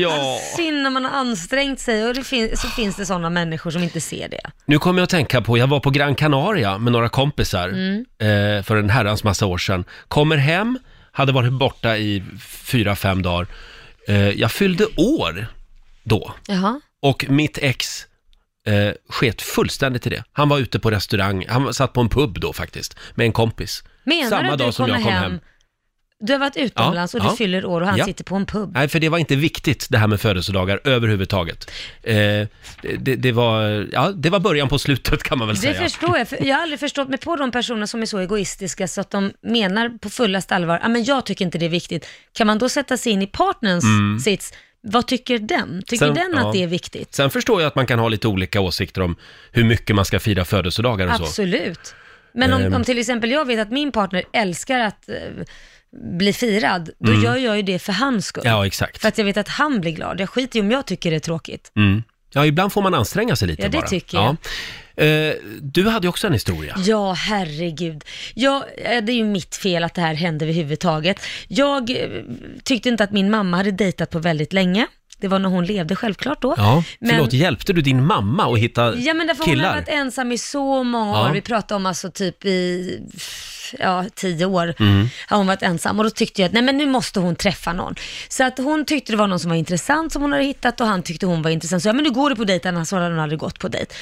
[SPEAKER 1] Ja.
[SPEAKER 2] Synd när man har ansträngt sig och det fin- så finns det sådana människor som inte ser det.
[SPEAKER 1] Nu kommer jag att tänka på, jag var på Gran Canaria med några kompisar
[SPEAKER 2] Mm.
[SPEAKER 1] eh, för en herrans massa år sedan. Kommer hem, hade varit borta i fyra, fem dagar. Eh, jag fyllde år då
[SPEAKER 2] Jaha.
[SPEAKER 1] och mitt ex eh, sket fullständigt i det. Han var ute på restaurang, han satt på en pub då faktiskt, med en kompis.
[SPEAKER 2] Menar du att du kommer hem, Du har varit utomlands
[SPEAKER 1] Ja,
[SPEAKER 2] och du
[SPEAKER 1] ja.
[SPEAKER 2] fyller år och han
[SPEAKER 1] Ja.
[SPEAKER 2] sitter på en pub.
[SPEAKER 1] Nej, för det var inte viktigt det här med födelsedagar överhuvudtaget. Eh, det, det, det, var, ja, det var början på slutet kan man väl
[SPEAKER 2] Det
[SPEAKER 1] säga.
[SPEAKER 2] förstår jag, för jag har aldrig förstått mig på de personer som är så egoistiska så att de menar på fullaste allvar, ah, men jag tycker inte det är viktigt. Kan man då sätta sig in i partnerns
[SPEAKER 1] Mm.
[SPEAKER 2] sits? Vad tycker den? Tycker
[SPEAKER 1] Sen-
[SPEAKER 2] den att
[SPEAKER 1] ja.
[SPEAKER 2] det är viktigt?
[SPEAKER 1] Sen förstår jag att man kan ha lite olika åsikter om hur mycket man ska fira födelsedagar och så.
[SPEAKER 2] Absolut. Men om,
[SPEAKER 1] Ehm.
[SPEAKER 2] om till exempel jag vet att min partner älskar att eh, bli firad, då
[SPEAKER 1] Mm.
[SPEAKER 2] gör jag ju det för hans skull.
[SPEAKER 1] Ja, exakt.
[SPEAKER 2] För att jag vet att han blir glad. Jag skiter i om jag tycker det är tråkigt.
[SPEAKER 1] Mm. Ja, ibland får man anstränga sig lite
[SPEAKER 2] Ja, det
[SPEAKER 1] bara.
[SPEAKER 2] tycker jag.
[SPEAKER 1] Ja. Eh, du hade ju också en historia.
[SPEAKER 2] Ja, herregud. Jag, eh, det är ju mitt fel att det här hände överhuvudtaget. Jag eh, tyckte inte att min mamma hade dejtat på väldigt länge. Det var när hon levde självklart då.
[SPEAKER 1] Ja, förlåt,
[SPEAKER 2] Men-
[SPEAKER 1] hjälpte du din mamma att hitta
[SPEAKER 2] Ja men därför hon har
[SPEAKER 1] killar?
[SPEAKER 2] varit ensam i så många år.
[SPEAKER 1] Ja.
[SPEAKER 2] Vi pratar om alltså typ i ja, tio år
[SPEAKER 1] Mm.
[SPEAKER 2] har hon varit ensam. Och då tyckte jag att nej men nu måste hon träffa någon. Så att hon tyckte det var någon som var intressant som hon hade hittat och han tyckte hon var intressant. Så ja men nu går du på dejt, annars hade hon aldrig gått på dejt.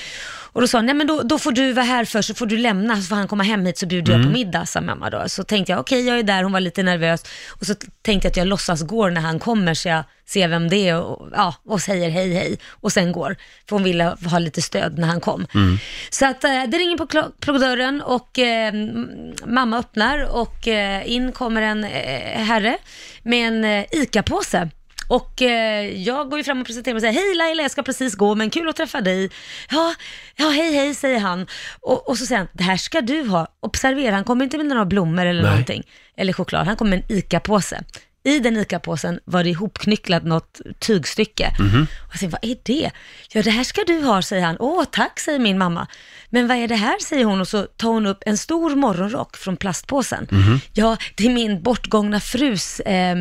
[SPEAKER 2] Och då sa hon, nej men då, då får du vara här först, så får du lämna, så får han komma hem hit så bjuder jag
[SPEAKER 5] Mm.
[SPEAKER 2] på middag, sa mamma då. Så tänkte jag, okej jag är där, hon var lite nervös. Och så t- tänkte jag att jag låtsas går när han kommer så jag ser vem det är och, ja, och säger hej hej och sen går. För hon ville ha lite stöd när han kom.
[SPEAKER 1] Mm.
[SPEAKER 2] Så att eh, det ringer på, klo- på dörren och eh, m- mamma öppnar och eh, in kommer en eh, herre med en eh, ICA-påse. Och eh, jag går ju fram och presenterar mig och säger hej Laila, jag ska precis gå men kul att träffa dig. Ja, ja hej hej säger han. Och, och så säger han, det här ska du ha. Observera, han kommer inte med några blommor eller
[SPEAKER 5] Nej.
[SPEAKER 2] någonting. Eller choklad, han kommer med en ICA-påse. I den ICA-påsen var det ihopknycklat något tygstycke.
[SPEAKER 1] Mm-hmm.
[SPEAKER 2] Och jag säger, vad är det? Ja, det här ska du ha, säger han. Åh, tack, säger min mamma. Men vad är det här, säger hon och så tar hon upp en stor morgonrock från plastpåsen.
[SPEAKER 5] Mhm.
[SPEAKER 1] Mm-hmm.
[SPEAKER 2] Ja, det är min bortgångna frus eh,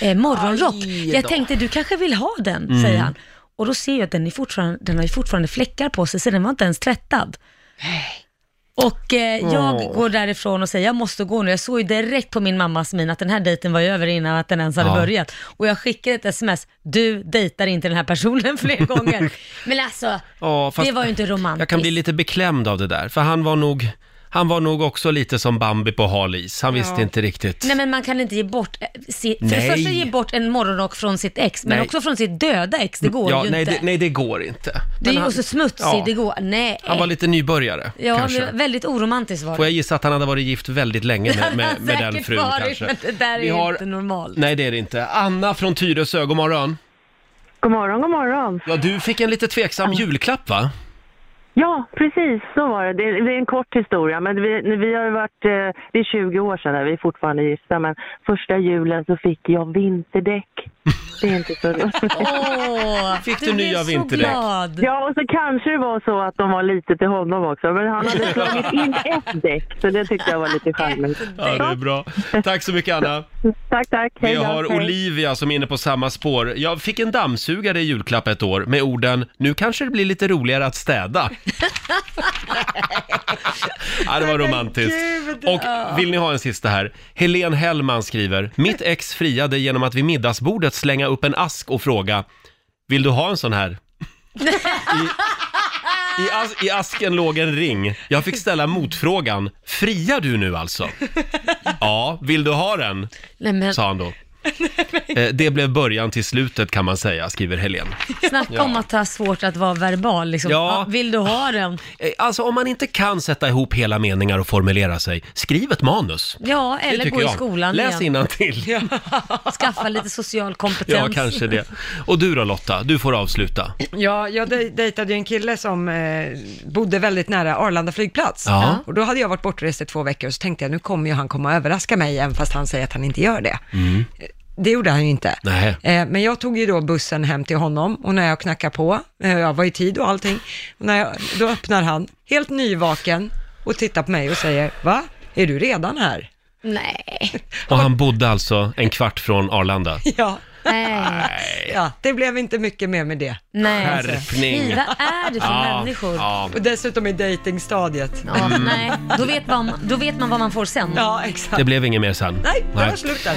[SPEAKER 2] eh, morgonrock.
[SPEAKER 5] Aj
[SPEAKER 2] jag
[SPEAKER 5] då.
[SPEAKER 2] tänkte, du kanske vill ha den,
[SPEAKER 5] Mm.
[SPEAKER 2] säger han. Och då ser jag att den, är fortfarande, den har ju fortfarande fläckar på sig, så den var inte ens tvättad. Och eh, jag
[SPEAKER 5] Åh.
[SPEAKER 2] går därifrån och säger jag måste gå nu. Jag såg ju direkt på min mammas min att den här dejten var ju över innan att den ens hade
[SPEAKER 5] Ja.
[SPEAKER 2] börjat. Och jag skickade ett sms, du dejtar inte den här personen fler gånger. Men alltså,
[SPEAKER 1] Ja, fast
[SPEAKER 2] det var ju inte romantiskt.
[SPEAKER 1] Jag kan bli lite beklämd av det där, för han var nog, han var nog också lite som Bambi på hal is. Han
[SPEAKER 2] Ja.
[SPEAKER 1] visste inte riktigt.
[SPEAKER 2] Nej men man kan inte ge bort, eh, si- för
[SPEAKER 1] Nej.
[SPEAKER 2] det första ge bort en morgonrock från sitt ex, men
[SPEAKER 1] Nej. Mm,
[SPEAKER 2] också från sitt döda ex, det går
[SPEAKER 1] ja,
[SPEAKER 2] ju
[SPEAKER 1] nej,
[SPEAKER 2] inte.
[SPEAKER 1] Det, nej, det går inte.
[SPEAKER 2] det är
[SPEAKER 1] Men
[SPEAKER 2] ju
[SPEAKER 1] han-
[SPEAKER 2] också smutsigt,
[SPEAKER 1] ja,
[SPEAKER 2] det går, nej.
[SPEAKER 1] Han var lite nybörjare,
[SPEAKER 2] ja,
[SPEAKER 1] kanske.
[SPEAKER 2] men väldigt oromantiskt var det.
[SPEAKER 1] Får jag gissa att han hade varit gift väldigt länge
[SPEAKER 2] Det
[SPEAKER 1] med,
[SPEAKER 2] hade
[SPEAKER 1] med,
[SPEAKER 2] han
[SPEAKER 1] med den
[SPEAKER 2] säkert
[SPEAKER 1] frun
[SPEAKER 2] varit,
[SPEAKER 1] kanske?
[SPEAKER 2] Men det där är
[SPEAKER 1] Vi
[SPEAKER 2] ju
[SPEAKER 1] har-
[SPEAKER 2] inte normalt.
[SPEAKER 1] Nej, det är det inte. Anna från Tyresö, god morgon.
[SPEAKER 12] God morgon, god morgon.
[SPEAKER 1] Ja, du fick en lite tveksam julklapp va?
[SPEAKER 12] Ja, precis så var det. Det är, det är en kort historia, men vi, vi har ju varit, eh, det är 20 år sedan, vi är fortfarande gifta, men första julen så fick jag vinterdäck. Det är inte så roligt.
[SPEAKER 2] Åh,
[SPEAKER 1] Fick du du blev nya så vinterdäck? glad.
[SPEAKER 12] Ja, och så kanske det var så att de var lite till honom också, men han hade slagit in ett däck, så det tyckte jag var lite charmigt.
[SPEAKER 1] Ja, det är bra. Tack så mycket Anna.
[SPEAKER 12] Tack, tack.
[SPEAKER 1] Vi
[SPEAKER 12] Hej då,
[SPEAKER 1] har
[SPEAKER 12] hej.
[SPEAKER 1] Olivia som är inne på samma spår. Jag fick en dammsugare i julklapp ett år med orden “Nu kanske det blir lite roligare att städa”. ja, det var romantiskt.
[SPEAKER 5] gud,
[SPEAKER 1] Och
[SPEAKER 5] ja.
[SPEAKER 1] vill ni ha en sista här? Helen Hellman skriver “Mitt ex friade genom att vid middagsbordet slänga upp en ask och fråga “Vill du ha en sån här?” I, as- I asken låg en ring. Jag fick ställa motfrågan “Friar du nu alltså?” “Ja, vill du ha den?”
[SPEAKER 2] Nej, men,
[SPEAKER 1] sa han då. Eh, Det blev början till slutet kan man säga, skriver Helen.
[SPEAKER 2] snacka
[SPEAKER 1] Ja.
[SPEAKER 2] om att ha svårt att vara verbal liksom.
[SPEAKER 1] Ja.
[SPEAKER 2] Ja. vill du ha den?
[SPEAKER 1] Eh, Alltså om man inte kan sätta ihop hela meningar och formulera sig, skriv ett manus.
[SPEAKER 2] Ja,
[SPEAKER 1] Det
[SPEAKER 2] eller
[SPEAKER 1] tycker
[SPEAKER 2] gå i
[SPEAKER 1] jag.
[SPEAKER 2] skolan
[SPEAKER 1] Läs
[SPEAKER 2] igen.
[SPEAKER 1] till.
[SPEAKER 2] Skaffa lite social kompetens.
[SPEAKER 1] Ja, kanske det. Och du då Lotta, du får avsluta.
[SPEAKER 3] Ja, jag dej- dejtade ju en kille som eh, bodde väldigt nära Arlanda flygplats.
[SPEAKER 1] Ja.
[SPEAKER 3] Och då hade jag varit bortrest i två veckor och så tänkte jag nu kommer ju han komma och överraska mig även fast han säger att han inte gör det.
[SPEAKER 5] Mm.
[SPEAKER 3] Det gjorde han ju inte.
[SPEAKER 1] Nej.
[SPEAKER 3] Eh, men jag tog ju då bussen hem till honom och när jag knackade på, eh, jag var i tid och allting, och när jag, då öppnar han helt nyvaken och tittar på mig och säger, va? Är du redan här?
[SPEAKER 2] Nej.
[SPEAKER 1] Och han bodde alltså en kvart från Arlanda.
[SPEAKER 3] Ja.
[SPEAKER 1] Nej.
[SPEAKER 3] ja, det blev inte mycket mer med det.
[SPEAKER 2] Nej.
[SPEAKER 1] Skärpning.
[SPEAKER 2] är det för människor?
[SPEAKER 1] Ja.
[SPEAKER 3] Och dessutom i dejtingstadiet.
[SPEAKER 2] Ja, nej. Då vet, man, då vet man vad man får sen.
[SPEAKER 3] Ja, exakt.
[SPEAKER 1] Mm. Det blev inget mer sen.
[SPEAKER 2] Ja,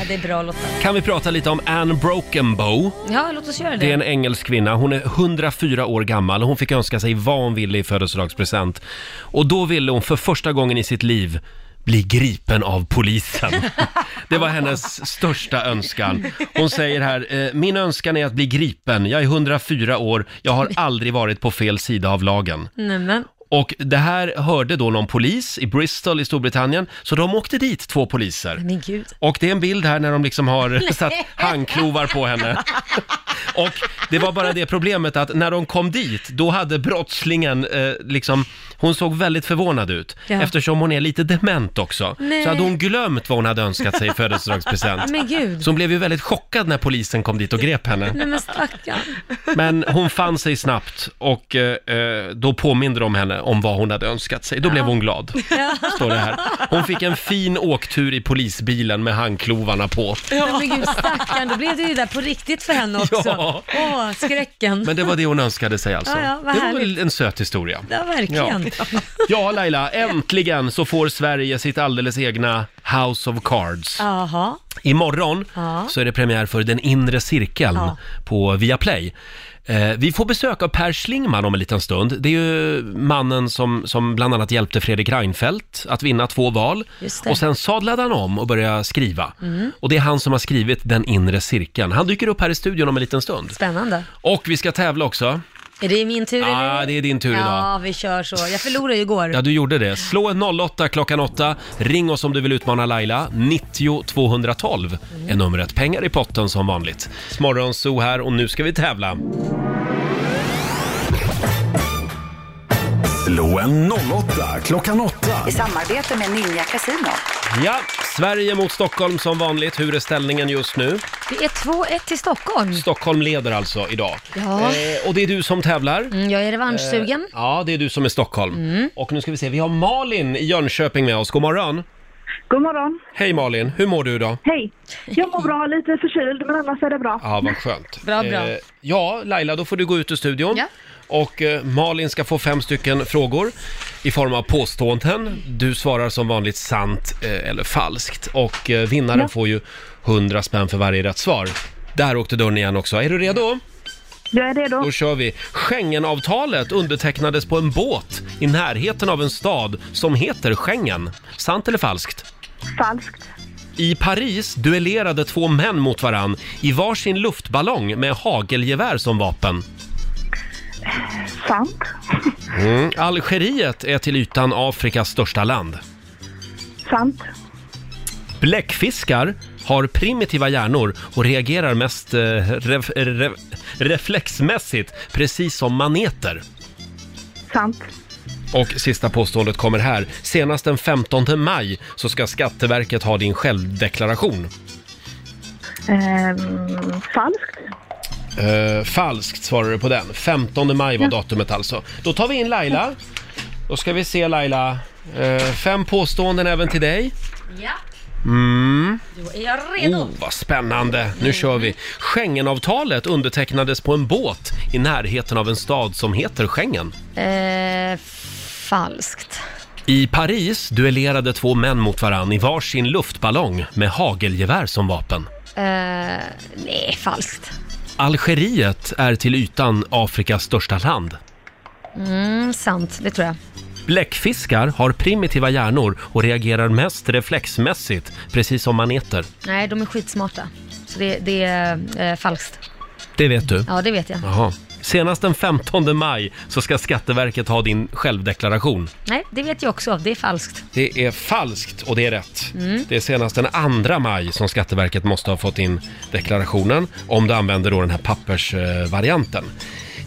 [SPEAKER 2] det är bra Lotta.
[SPEAKER 1] Kan vi prata lite om Anne Brokenbow?
[SPEAKER 2] Ja, låt oss göra det.
[SPEAKER 1] Det är en engelsk kvinna. Hon är 104 år gammal. Hon fick önska sig vad hon ville i födelsedagspresent. Och då ville hon för första gången i sitt liv bli gripen av polisen. Det var hennes största önskan. Hon säger här, eh, min önskan är att bli gripen. Jag är 104 år, jag har aldrig varit på fel sida av lagen.
[SPEAKER 2] Nämen.
[SPEAKER 1] Och det här hörde då någon polis i Bristol i Storbritannien, så de åkte dit, två poliser.
[SPEAKER 2] Men gud.
[SPEAKER 1] Och det är en bild här när de liksom har
[SPEAKER 2] Nej.
[SPEAKER 1] satt handklovar på henne. Och det var bara det problemet att när de kom dit, då hade brottslingen eh, liksom, hon såg väldigt förvånad ut.
[SPEAKER 2] Ja.
[SPEAKER 1] Eftersom hon är lite dement också.
[SPEAKER 2] Nej.
[SPEAKER 1] Så hade hon glömt vad hon hade önskat sig i födelsedagspresent.
[SPEAKER 2] Men gud.
[SPEAKER 1] Så hon blev ju väldigt chockad när polisen kom dit och grep henne.
[SPEAKER 2] Nej men stackarn.
[SPEAKER 1] Men hon fann sig snabbt och eh, eh, då påminde de henne om vad hon hade önskat sig. Då blev hon glad,
[SPEAKER 2] Ja.
[SPEAKER 1] står det här. Hon fick en fin åktur i polisbilen med handklovarna på.
[SPEAKER 2] Nej, Men gud stackarn, då blev det ju där på riktigt för henne också.
[SPEAKER 1] Ja.
[SPEAKER 2] Åh, skräcken.
[SPEAKER 1] Men det var det hon önskade sig alltså.
[SPEAKER 2] Ja, ja, vad
[SPEAKER 1] det var
[SPEAKER 2] härligt.
[SPEAKER 1] en söt historia.
[SPEAKER 2] Ja, verkligen.
[SPEAKER 1] Ja. ja, Laila, äntligen så får Sverige sitt alldeles egna House of Cards.
[SPEAKER 2] Jaha.
[SPEAKER 1] Imorgon
[SPEAKER 2] Ja.
[SPEAKER 1] så är det premiär för Den inre cirkeln
[SPEAKER 2] Ja.
[SPEAKER 1] på Viaplay. Eh, vi får besök av Per Schlingmann om en liten stund. Det är ju mannen som, som bland annat hjälpte Fredrik Reinfeldt att vinna två val.
[SPEAKER 2] Just det.
[SPEAKER 1] Och sen sadlade han om och började skriva. Mm. Och det är han som har skrivit Den inre cirkeln. Han dyker upp här i studion om en liten stund.
[SPEAKER 2] Spännande.
[SPEAKER 1] Och vi ska tävla också.
[SPEAKER 2] Är det min tur
[SPEAKER 1] Ja, det är din tur idag.
[SPEAKER 2] Ja, vi kör så. Jag förlorade ju igår.
[SPEAKER 1] Ja, du gjorde det. Slå en 08 klockan 8. Ring oss om du vill utmana Laila. 90 212 är numret. Pengar i potten som vanligt. Morgonzoo här och nu ska vi tävla.
[SPEAKER 4] Slå en 08 klockan 8.
[SPEAKER 14] I samarbete med Ninja Casino.
[SPEAKER 1] Ja, Sverige mot Stockholm som vanligt. Hur är ställningen just nu?
[SPEAKER 2] Det är 2-1 till Stockholm.
[SPEAKER 1] Stockholm leder alltså idag.
[SPEAKER 2] Ja.
[SPEAKER 1] Eh, och det är du som tävlar.
[SPEAKER 2] Mm, jag är revanschsugen.
[SPEAKER 1] Eh, ja, det är du som är Stockholm. Och nu ska vi se, vi har Malin i Jönköping med oss. God morgon!
[SPEAKER 15] God morgon.
[SPEAKER 1] Hej Malin, hur mår du idag?
[SPEAKER 15] Hej. Jag mår bra, lite förkyld, men annars är det bra.
[SPEAKER 1] Ja, vad skönt.
[SPEAKER 15] Bra, bra.
[SPEAKER 1] Eh, ja, Laila, då får du gå ut ur studion. Och eh, Malin ska få fem stycken frågor i form av påståenden. Du svarar som vanligt sant eh, eller falskt. Och eh, vinnaren
[SPEAKER 15] Ja.
[SPEAKER 1] får ju 100 spänn för varje rätt svar. Där åkte dörren igen också. Är du redo?
[SPEAKER 15] Jag är redo.
[SPEAKER 1] Då kör vi. Schengenavtalet undertecknades på en båt i närheten av en stad som heter Schengen. Sant eller falskt?
[SPEAKER 15] Falskt.
[SPEAKER 1] I Paris duellerade två män mot varann i varsin luftballong med hagelgevär som vapen.
[SPEAKER 15] Sant.
[SPEAKER 1] Mm. Algeriet är till ytan Afrikas största land.
[SPEAKER 15] Sant.
[SPEAKER 1] Bläckfiskar har primitiva hjärnor och reagerar mest eh, ref, ref, reflexmässigt, precis som maneter.
[SPEAKER 15] Sant.
[SPEAKER 1] Och sista påståendet kommer här. Senast den 15 maj så ska Skatteverket ha din självdeklaration.
[SPEAKER 15] Ehm, falskt.
[SPEAKER 1] Eh, falskt svarar du på den. 15 maj var
[SPEAKER 15] Ja.
[SPEAKER 1] datumet alltså. Då tar vi in Laila. Då ska vi se Laila. Eh, fem påståenden även till dig.
[SPEAKER 2] Ja.
[SPEAKER 1] Mm.
[SPEAKER 2] Då är jag
[SPEAKER 1] Oh,
[SPEAKER 2] redo.
[SPEAKER 1] vad spännande! Nu kör vi. Schengenavtalet undertecknades på en båt i närheten av en stad som heter Schengen.
[SPEAKER 2] Eh, falskt.
[SPEAKER 1] I Paris duellerade två män mot varann i varsin luftballong med hagelgevär som vapen.
[SPEAKER 2] Eh, nej, falskt.
[SPEAKER 1] Algeriet är till ytan Afrikas största land.
[SPEAKER 2] Mm, sant, det tror jag.
[SPEAKER 1] Bläckfiskar har primitiva hjärnor och reagerar mest reflexmässigt, precis som maneter.
[SPEAKER 2] Nej, de är skitsmarta. Så det, det är eh, falskt.
[SPEAKER 1] Det vet du?
[SPEAKER 2] Ja, det vet jag.
[SPEAKER 1] Jaha. Senast den 15 maj så ska Skatteverket ha din självdeklaration.
[SPEAKER 2] Nej, det vet jag också. Det är falskt.
[SPEAKER 1] Det är falskt och det är rätt.
[SPEAKER 2] Mm.
[SPEAKER 1] Det är senast den 2 maj som Skatteverket måste ha fått in deklarationen om du använder då den här pappersvarianten.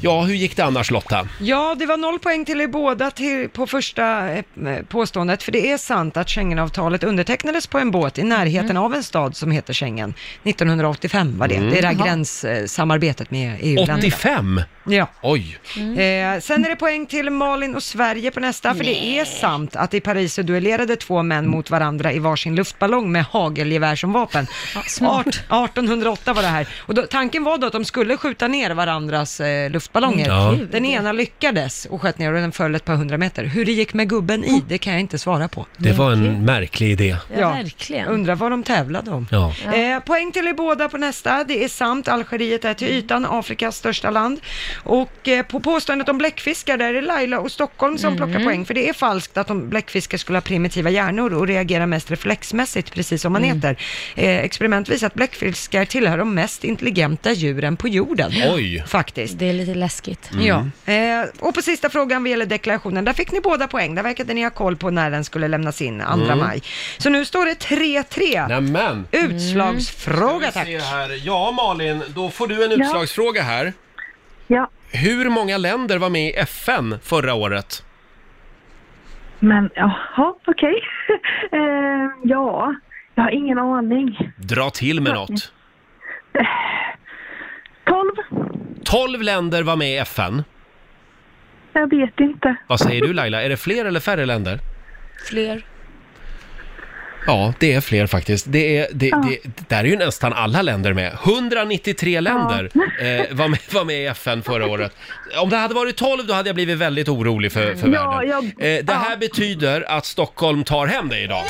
[SPEAKER 1] Ja, hur gick det annars Lotta?
[SPEAKER 3] Ja, det var noll poäng till er båda till, på första eh, påståendet, för det är sant att Schengenavtalet undertecknades på en båt i närheten av en stad som heter Schengen. 1985 var det.
[SPEAKER 1] Mm.
[SPEAKER 3] Det är det här
[SPEAKER 1] Jaha.
[SPEAKER 3] gränssamarbetet med EU-länderna.
[SPEAKER 1] 85?
[SPEAKER 3] Ja.
[SPEAKER 1] Oj.
[SPEAKER 3] Eh, sen är det poäng till Malin och Sverige på nästa, för det är sant att i Paris så duellerade två män mot varandra i varsin luftballong med hagelgevär som vapen.
[SPEAKER 2] smart.
[SPEAKER 3] Art- 1808 var det här. Och då, tanken var då att de skulle skjuta ner varandras eh, luftballonger.
[SPEAKER 1] Ja.
[SPEAKER 3] Den ena lyckades och sköt ner och den föll ett par hundra meter. Hur det gick med gubben i, det kan jag inte svara på.
[SPEAKER 1] Det var en märklig idé.
[SPEAKER 2] verkligen.
[SPEAKER 3] Undrar vad de tävlade om.
[SPEAKER 1] Ja.
[SPEAKER 3] Eh, poäng till er båda på nästa. Det är sant, Algeriet är till
[SPEAKER 1] Mm.
[SPEAKER 3] ytan Afrikas största land. Och eh, på påståendet om bläckfiskar, där är Laila och Stockholm
[SPEAKER 1] Mm.
[SPEAKER 3] som plockar poäng. För det är falskt att de bläckfiskar skulle ha primitiva hjärnor och reagera mest reflexmässigt, precis som man
[SPEAKER 1] Mm.
[SPEAKER 3] heter. Eh, experiment visar att bläckfiskar tillhör de mest intelligenta djuren på jorden.
[SPEAKER 1] Oj. Mm.
[SPEAKER 3] Faktiskt.
[SPEAKER 2] Det är lite läskigt.
[SPEAKER 3] Ja. Eh, och på sista frågan vad gäller deklarationen, där fick ni båda poäng. Där verkade ni ha koll på när den skulle lämnas in, 2
[SPEAKER 1] Mm.
[SPEAKER 3] maj. Så nu står det 3-3.
[SPEAKER 1] Nämen!
[SPEAKER 3] Utslagsfråga
[SPEAKER 1] Ska
[SPEAKER 3] tack.
[SPEAKER 1] vi se här. Ja, Malin, då får du en utslagsfråga här.
[SPEAKER 15] Ja,
[SPEAKER 1] Hur många länder var med i FN förra året?
[SPEAKER 15] men jaha, okej. eh, ja, jag har ingen aning.
[SPEAKER 1] Dra till med något.
[SPEAKER 15] 12?
[SPEAKER 1] 12 länder var med i FN.
[SPEAKER 15] Jag vet inte.
[SPEAKER 1] Vad säger du Laila, är det fler eller färre länder?
[SPEAKER 2] Fler.
[SPEAKER 1] Ja, det är fler faktiskt. Det är, det,
[SPEAKER 15] Ja.
[SPEAKER 1] det, där är ju nästan alla länder med. 193 länder eh, var, med, var med i FN förra året. Om det hade varit 12 då hade jag blivit väldigt orolig för, för
[SPEAKER 15] Ja,
[SPEAKER 1] världen.
[SPEAKER 15] jag-
[SPEAKER 1] eh, det här betyder att Stockholm tar hem det idag.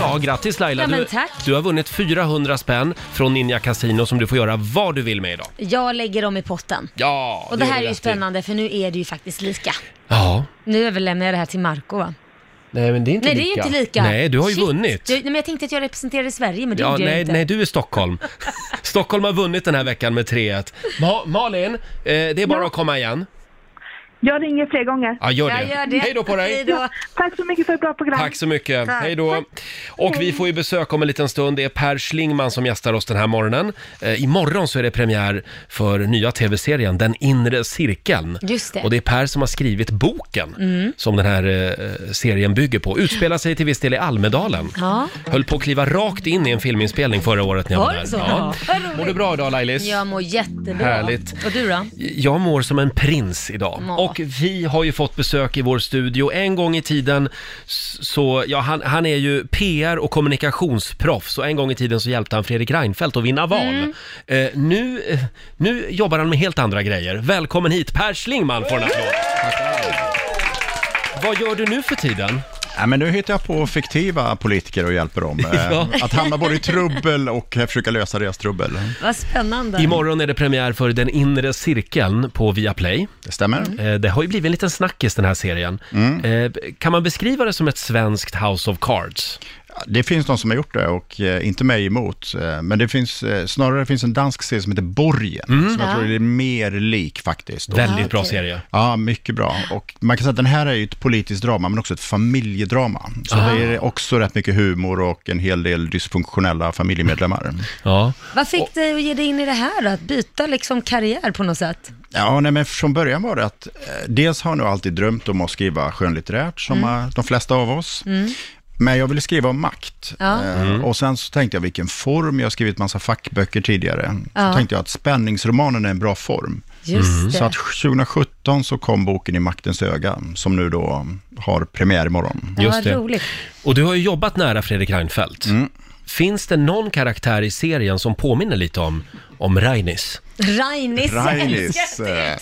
[SPEAKER 1] Ja, grattis Laila!
[SPEAKER 2] Ja, men
[SPEAKER 1] Du,
[SPEAKER 2] tack.
[SPEAKER 1] du har vunnit 400 spänn från Ninja Casino som du får göra vad du vill med idag.
[SPEAKER 2] Jag lägger dem i potten.
[SPEAKER 1] Ja,
[SPEAKER 2] Och det
[SPEAKER 1] gör
[SPEAKER 2] här
[SPEAKER 1] du
[SPEAKER 2] är ju
[SPEAKER 1] rätt i.
[SPEAKER 2] spännande för nu är det ju faktiskt lika.
[SPEAKER 1] Ja,
[SPEAKER 2] Nu överlämnar jag det här till Marco va?
[SPEAKER 1] nej men det är inte
[SPEAKER 2] nej
[SPEAKER 1] lika.
[SPEAKER 2] det är ju inte lika.
[SPEAKER 1] Nej, du har ju
[SPEAKER 2] Shit.
[SPEAKER 1] vunnit.
[SPEAKER 2] Du, nej, men jag tänkte att jag representerade Sverige men det
[SPEAKER 1] Ja,
[SPEAKER 2] gjorde jag
[SPEAKER 1] nej,
[SPEAKER 2] inte.
[SPEAKER 1] nej, du är Stockholm. Stockholm har vunnit den här veckan med 3-1. Ma- Malin, eh, det är bara att komma igen.
[SPEAKER 15] Jag ringer fler gånger.
[SPEAKER 1] Ja, gör det. Jag gör det. Hej då på dig. Hej då.
[SPEAKER 15] Tack så mycket för ett bra program.
[SPEAKER 1] Tack så mycket.
[SPEAKER 15] Tack.
[SPEAKER 1] Hej då. Och vi får ju besök om en liten stund. Det är Per Schlingman som gästar oss den här morgonen. Eh, imorgon så är det premiär för nya tv-serien Den inre cirkeln.
[SPEAKER 2] Just det.
[SPEAKER 1] Och det är Per som har skrivit boken
[SPEAKER 2] Mm.
[SPEAKER 1] som den här eh, serien bygger på. Utspelar sig till viss del i Almedalen.
[SPEAKER 2] Ja.
[SPEAKER 1] Höll på att kliva rakt in i en filminspelning förra året när jag var
[SPEAKER 2] Var det
[SPEAKER 1] där.
[SPEAKER 2] så?
[SPEAKER 1] Ja.
[SPEAKER 2] Vad roligt.
[SPEAKER 1] Mår du bra idag Lailis?
[SPEAKER 2] Jag mår jättebra.
[SPEAKER 1] Härligt.
[SPEAKER 2] Och du då?
[SPEAKER 1] Jag mår som en prins idag.
[SPEAKER 2] Ja.
[SPEAKER 1] Och vi har ju fått besök i vår studio en gång i tiden. s- Så, ja, han, han är ju PR och kommunikationsproffs och en gång i tiden så hjälpte han Fredrik Reinfeldt att vinna val.
[SPEAKER 2] Mm.
[SPEAKER 1] Eh, nu, eh, nu jobbar han med helt andra grejer. Välkommen hit Per Schlingman får en applåd. Vad gör du nu för tiden?
[SPEAKER 16] Nej, men nu hittar jag på fiktiva politiker och hjälper dem. eh,
[SPEAKER 1] Ja.
[SPEAKER 16] Att hamna både i trubbel och eh, försöka lösa deras trubbel.
[SPEAKER 2] Vad spännande.
[SPEAKER 1] Imorgon är det premiär för Den inre cirkeln på Viaplay. Eh,
[SPEAKER 16] Det stämmer. Mm.
[SPEAKER 1] Det har ju blivit en liten snackis den här serien. Eh, Kan man beskriva det som ett svenskt House of Cards?
[SPEAKER 16] Det finns någon som har gjort det och eh, inte mig emot. eh, Men det finns, eh, snarare finns en dansk serie som heter Borgen, som jag
[SPEAKER 1] Ja.
[SPEAKER 16] tror är mer lik faktiskt.
[SPEAKER 1] Mm. Väldigt bra serie.
[SPEAKER 16] Ja, mycket bra. Och man kan säga att den här är ju ett politiskt drama, men också ett familjedrama. Så
[SPEAKER 1] Ah.
[SPEAKER 16] det är också rätt mycket humor och en hel del dysfunktionella familjemedlemmar.
[SPEAKER 1] Ja.
[SPEAKER 2] Vad fick dig att ge dig in i det här då? Att byta liksom karriär på något sätt?
[SPEAKER 16] Ja, nej, men från början var det att eh, dels har jag nog alltid drömt om att skriva skönlitterärt, som
[SPEAKER 2] Mm.
[SPEAKER 16] eh, de flesta av oss.
[SPEAKER 2] Mm.
[SPEAKER 16] Men jag ville skriva om makt.
[SPEAKER 2] Ja.
[SPEAKER 16] Eh,
[SPEAKER 2] Mm.
[SPEAKER 16] Och sen så tänkte jag vilken form, jag har skrivit massa fackböcker tidigare.
[SPEAKER 2] Ja.
[SPEAKER 16] Så tänkte jag att spänningsromanen är en bra form.
[SPEAKER 2] Just Mm. det.
[SPEAKER 16] Så att 2017 så kom boken I maktens öga, som nu då har premiär imorgon.
[SPEAKER 1] Ja, Just vad det. roligt. Och du har ju jobbat nära Fredrik Reinfeldt.
[SPEAKER 16] Mm.
[SPEAKER 1] Finns det någon karaktär i serien som påminner lite om, om Reinis?
[SPEAKER 2] Rainis, jag
[SPEAKER 16] Rainis,
[SPEAKER 2] älskar det.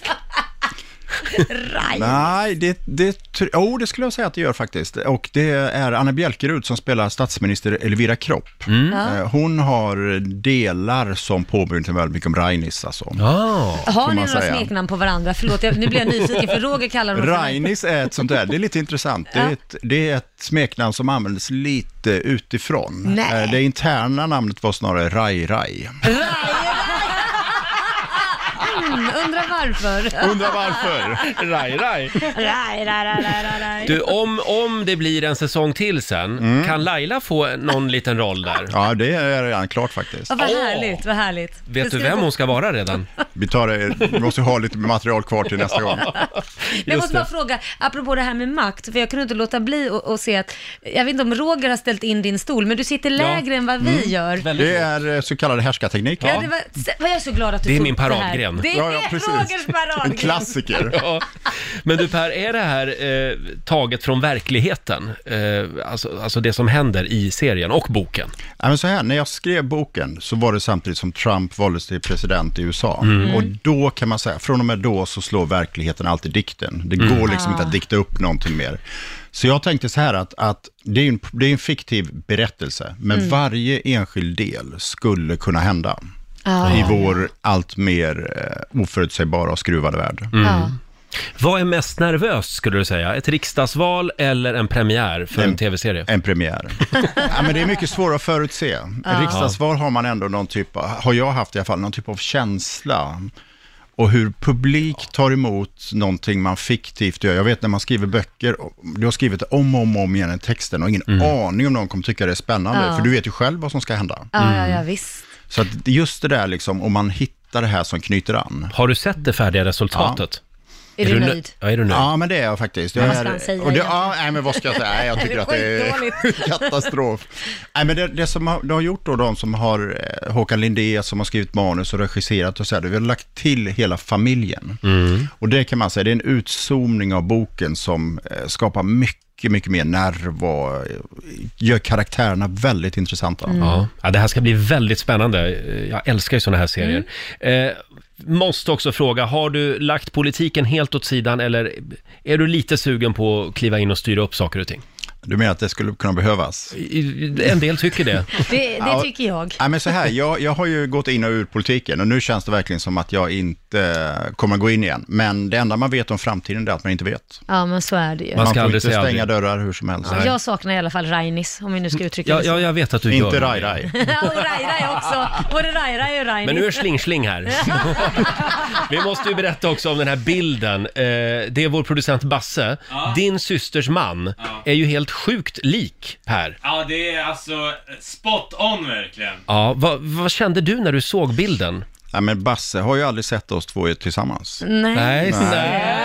[SPEAKER 2] Rainis.
[SPEAKER 16] eh, Nej, det, det, tr- oh, det skulle jag säga att det gör faktiskt. Och det är Anna Bjälkerud som spelar statsminister Elvira Kropp.
[SPEAKER 2] Ja.
[SPEAKER 16] Eh, Hon har delar som påminner väldigt mycket om Rainis. Alltså.
[SPEAKER 2] Har ni några smeknamn på varandra? Förlåt, jag, nu blir jag nyfiken för Roger kallar honom för
[SPEAKER 16] Rainis är ett sånt där, det är lite intressant. Det
[SPEAKER 2] Ja.
[SPEAKER 16] är ett, det är ett smeknamn som användes lite utifrån.
[SPEAKER 2] Nej.
[SPEAKER 16] Eh, Det interna namnet var snarare Rai Rai.
[SPEAKER 2] Mm, undrar varför.
[SPEAKER 16] Undrar varför.
[SPEAKER 1] Raj, raj.
[SPEAKER 2] Raj, raj, raj, raj, raj, raj.
[SPEAKER 1] Du, om, om det blir en säsong till sen,
[SPEAKER 16] Mm.
[SPEAKER 1] kan Laila få någon liten roll där?
[SPEAKER 16] Ja, det är redan klart faktiskt.
[SPEAKER 2] Ja, vad härligt, vad härligt.
[SPEAKER 1] Vet
[SPEAKER 2] Det
[SPEAKER 1] du
[SPEAKER 2] ska
[SPEAKER 1] vem
[SPEAKER 2] bli-
[SPEAKER 1] hon ska vara redan?
[SPEAKER 16] Vi tar det, vi måste ha lite material kvar till nästa gång.
[SPEAKER 2] Men jag måste bara fråga, apropå det här med makt, för jag kunde inte låta bli att att se att, jag vet inte om Roger har ställt in din stol, men du sitter lägre än vad vi
[SPEAKER 16] Mm.
[SPEAKER 2] gör.
[SPEAKER 16] Det är eh, så kallade härskarteknik.
[SPEAKER 2] Ja, det var, se- var jag så glad att du
[SPEAKER 16] Det är
[SPEAKER 2] tog
[SPEAKER 16] min
[SPEAKER 2] upp här.
[SPEAKER 1] paradgren.
[SPEAKER 2] Det är
[SPEAKER 1] Ja, ja, precis.
[SPEAKER 2] Rogers paradgren.
[SPEAKER 1] ja. Men du Per, är det här eh, taget från verkligheten? Eh, alltså, alltså det som händer i serien och boken?
[SPEAKER 16] Ja, men så här, när jag skrev boken så var det samtidigt som Trump valdes till president i USA.
[SPEAKER 1] Mm.
[SPEAKER 16] Och då kan man säga, från och med då så slår verkligheten alltid dikten. Det
[SPEAKER 17] Mm.
[SPEAKER 16] går liksom
[SPEAKER 17] Ah.
[SPEAKER 16] inte att dikta upp någonting mer. Så jag tänkte så här att, att det, är ju en, det är en fiktiv berättelse, men
[SPEAKER 17] Mm.
[SPEAKER 16] varje enskild del skulle kunna hända.
[SPEAKER 17] Ah.
[SPEAKER 16] I vår allt mer eh, oförutsägbara och skruvade värld.
[SPEAKER 17] Ja.
[SPEAKER 1] Vad är mest nervöst skulle du säga? Ett riksdagsval eller en premiär för en, tv-serie?
[SPEAKER 16] En premiär. ja, men det är mycket svårare att förutse.
[SPEAKER 1] Ja.
[SPEAKER 16] Riksdagsval har man ändå någon typ av, har jag haft i alla fall, någon typ av känsla. Och hur publik tar emot någonting man fiktivt gör. Jag vet när man skriver böcker, och du har skrivit om och om, och om igen i texten och ingen aning om någon kommer tycka det är spännande.
[SPEAKER 2] Mm. Ja.
[SPEAKER 16] För du vet ju själv vad som ska hända.
[SPEAKER 2] Ja, ja,
[SPEAKER 1] Mm.
[SPEAKER 2] ja, visst.
[SPEAKER 16] Så att just det där liksom, om man hittar det här som knyter an.
[SPEAKER 1] Har du sett det färdiga resultatet?
[SPEAKER 2] Är du nöjd?
[SPEAKER 1] Ja, är du nöjd?
[SPEAKER 16] Ja, men det är jag faktiskt. Jag
[SPEAKER 1] Vad
[SPEAKER 16] är,
[SPEAKER 1] ska han säga
[SPEAKER 16] och det,
[SPEAKER 1] egentligen?
[SPEAKER 16] ja, nej, men vad ska jag säga? Nej, jag
[SPEAKER 17] Det är
[SPEAKER 16] tycker att det är
[SPEAKER 17] skitdåligt.
[SPEAKER 16] katastrof. Nej, men det, det som har, de har gjort då, de som har eh, Håkan Lindé som har skrivit manus och regisserat och så här, vi har lagt till hela familjen.
[SPEAKER 1] Mm.
[SPEAKER 16] Och det kan man säga, det är en utzoomning av boken som eh, skapar mycket, mycket mer nerv och eh, gör karaktärerna väldigt intressanta.
[SPEAKER 1] Mm. Ja. Ja, det här ska bli väldigt spännande. Eh, Jag älskar ju sådana här serier. Eh, måste också fråga, har du lagt politiken helt åt sidan eller är du lite sugen på att kliva in och styra upp saker och ting?
[SPEAKER 16] Du menar att det skulle kunna behövas?
[SPEAKER 1] En del tycker det.
[SPEAKER 2] Det, det
[SPEAKER 16] Ja.
[SPEAKER 2] tycker jag.
[SPEAKER 16] Nej, men så här, jag, jag har ju gått in och ur politiken och nu känns det verkligen som att jag inte eh, kommer att gå in igen. Men det enda man vet om framtiden det är att man inte vet.
[SPEAKER 2] Ja, men så är det ju.
[SPEAKER 16] Man, får inte stänga dörrar hur som helst.
[SPEAKER 2] Jag saknar i alla fall Rainis, om vi nu ska uttrycka
[SPEAKER 1] Ja,
[SPEAKER 2] det så.
[SPEAKER 1] ja, jag vet att du
[SPEAKER 16] Inte
[SPEAKER 1] gör
[SPEAKER 16] Rai Rai.
[SPEAKER 2] Ja, och Rai-Rai också. Både Rai-Rai och Rainis.
[SPEAKER 1] Men nu är Sling-Sling här. Vi måste ju berätta också om den här bilden. Eh, det är vår producent Basse. Din systers man är ju helt sjukt lik här.
[SPEAKER 18] Ja, det är alltså spot on verkligen.
[SPEAKER 1] Ja, vad, vad kände du när du såg bilden?
[SPEAKER 16] Nej, men Basse har ju aldrig sett oss två tillsammans.
[SPEAKER 2] Nej.
[SPEAKER 16] Nej.
[SPEAKER 1] nej.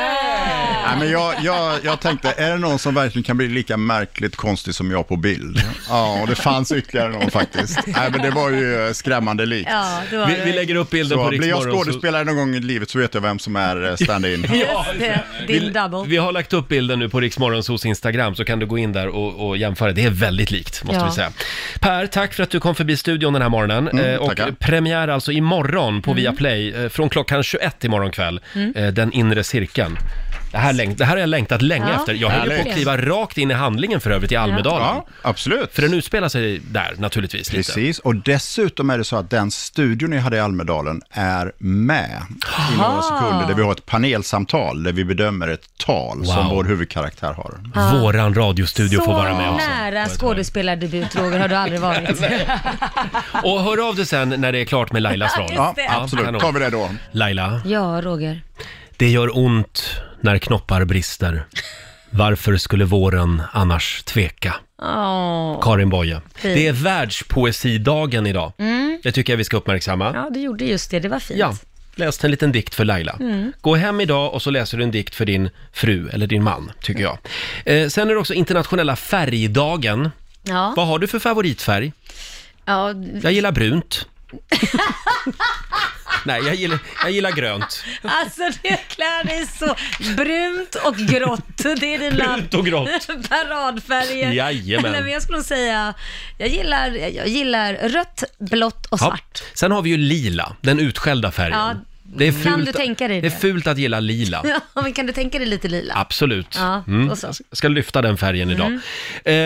[SPEAKER 16] Nej, men jag, jag, jag tänkte, är det någon som verkligen kan bli lika märkligt konstig som jag på bild? Ja, och det fanns ytterligare någon faktiskt. Nej, men det var ju eh, skrämmande likt.
[SPEAKER 2] Ja, det var
[SPEAKER 1] Vi- vi lägger upp bilden
[SPEAKER 16] så,
[SPEAKER 1] på
[SPEAKER 16] Blir jag
[SPEAKER 1] Riksmorgon så-
[SPEAKER 16] skådespelare någon gång i livet så vet jag vem som är eh, stand-in.
[SPEAKER 2] Just det, din double.
[SPEAKER 1] Vi har lagt upp bilden nu på Riksmorgonsos Instagram så kan du gå in där och, och jämföra. Det är väldigt likt måste
[SPEAKER 2] Ja.
[SPEAKER 1] vi säga. Per, tack för att du kom förbi studion den här morgonen.
[SPEAKER 17] Mm,
[SPEAKER 1] Eh, och
[SPEAKER 17] tackar.
[SPEAKER 1] premiär alltså imorgon på
[SPEAKER 17] Mm.
[SPEAKER 1] Viaplay eh, från klockan 21 imorgon kväll.
[SPEAKER 17] Mm.
[SPEAKER 1] Eh, Den inre cirkeln. Det här, läng- det här har jag längtat länge
[SPEAKER 17] Ja,
[SPEAKER 1] efter. Jag höll ju på att
[SPEAKER 17] verkligen.
[SPEAKER 1] kliva rakt in i handlingen för övrigt i Almedalen.
[SPEAKER 16] Ja, absolut.
[SPEAKER 1] För den utspelar sig där naturligtvis lite.
[SPEAKER 16] Precis, och dessutom är det så att den studion ni hade i Almedalen är med i
[SPEAKER 17] Aha.
[SPEAKER 16] några sekunder, där vi har ett panelsamtal där vi bedömer ett tal som
[SPEAKER 1] Wow.
[SPEAKER 16] vår huvudkaraktär har.
[SPEAKER 2] Ah.
[SPEAKER 1] Våran radiostudio
[SPEAKER 2] så
[SPEAKER 1] får vara med också.
[SPEAKER 2] nära skådespelardebut, Roger, har du aldrig varit.
[SPEAKER 1] Och hör av dig sen när det är klart med Lailas roll.
[SPEAKER 2] Ja, just det. absolut.
[SPEAKER 1] kanon.
[SPEAKER 2] Tar vi det då.
[SPEAKER 1] Laila,
[SPEAKER 2] ja, Roger.
[SPEAKER 1] det gör ont när knoppar brister. Varför skulle våren annars tveka?
[SPEAKER 2] Åh.
[SPEAKER 1] Karin Boye.
[SPEAKER 2] Fint.
[SPEAKER 1] Det är världspoesidagen idag.
[SPEAKER 2] Mm.
[SPEAKER 1] Det tycker jag vi ska uppmärksamma.
[SPEAKER 2] Ja, du gjorde just det. Det var fint.
[SPEAKER 1] Ja, läst en liten dikt för Laila.
[SPEAKER 2] Mm.
[SPEAKER 1] Gå hem idag och så läser du en dikt för din fru eller din man, tycker jag. Eh, sen är det också internationella färgdagen.
[SPEAKER 2] Ja.
[SPEAKER 1] Vad har du för favoritfärg?
[SPEAKER 2] Ja,
[SPEAKER 1] Jag gillar brunt. Nej, jag gillar, jag gillar grönt.
[SPEAKER 2] Alltså du klär dig så brunt och grått. Det är dina
[SPEAKER 1] Brunt och grått.
[SPEAKER 2] paradfärger.
[SPEAKER 1] Jajamän.
[SPEAKER 2] Nej, men jag skulle nog säga, jag gillar, jag gillar rött, blått och svart.
[SPEAKER 1] Ja. Sen har vi ju lila, den utskällda färgen.
[SPEAKER 2] Ja,
[SPEAKER 1] det är
[SPEAKER 2] kan
[SPEAKER 1] fult,
[SPEAKER 2] du tänka dig
[SPEAKER 1] det? är
[SPEAKER 2] det?
[SPEAKER 1] fult att gilla lila.
[SPEAKER 2] Ja. men kan du tänka dig lite lila?
[SPEAKER 1] Absolut.
[SPEAKER 2] Ja,
[SPEAKER 1] Mm.
[SPEAKER 2] och så. Mm.
[SPEAKER 1] Jag ska lyfta den färgen idag.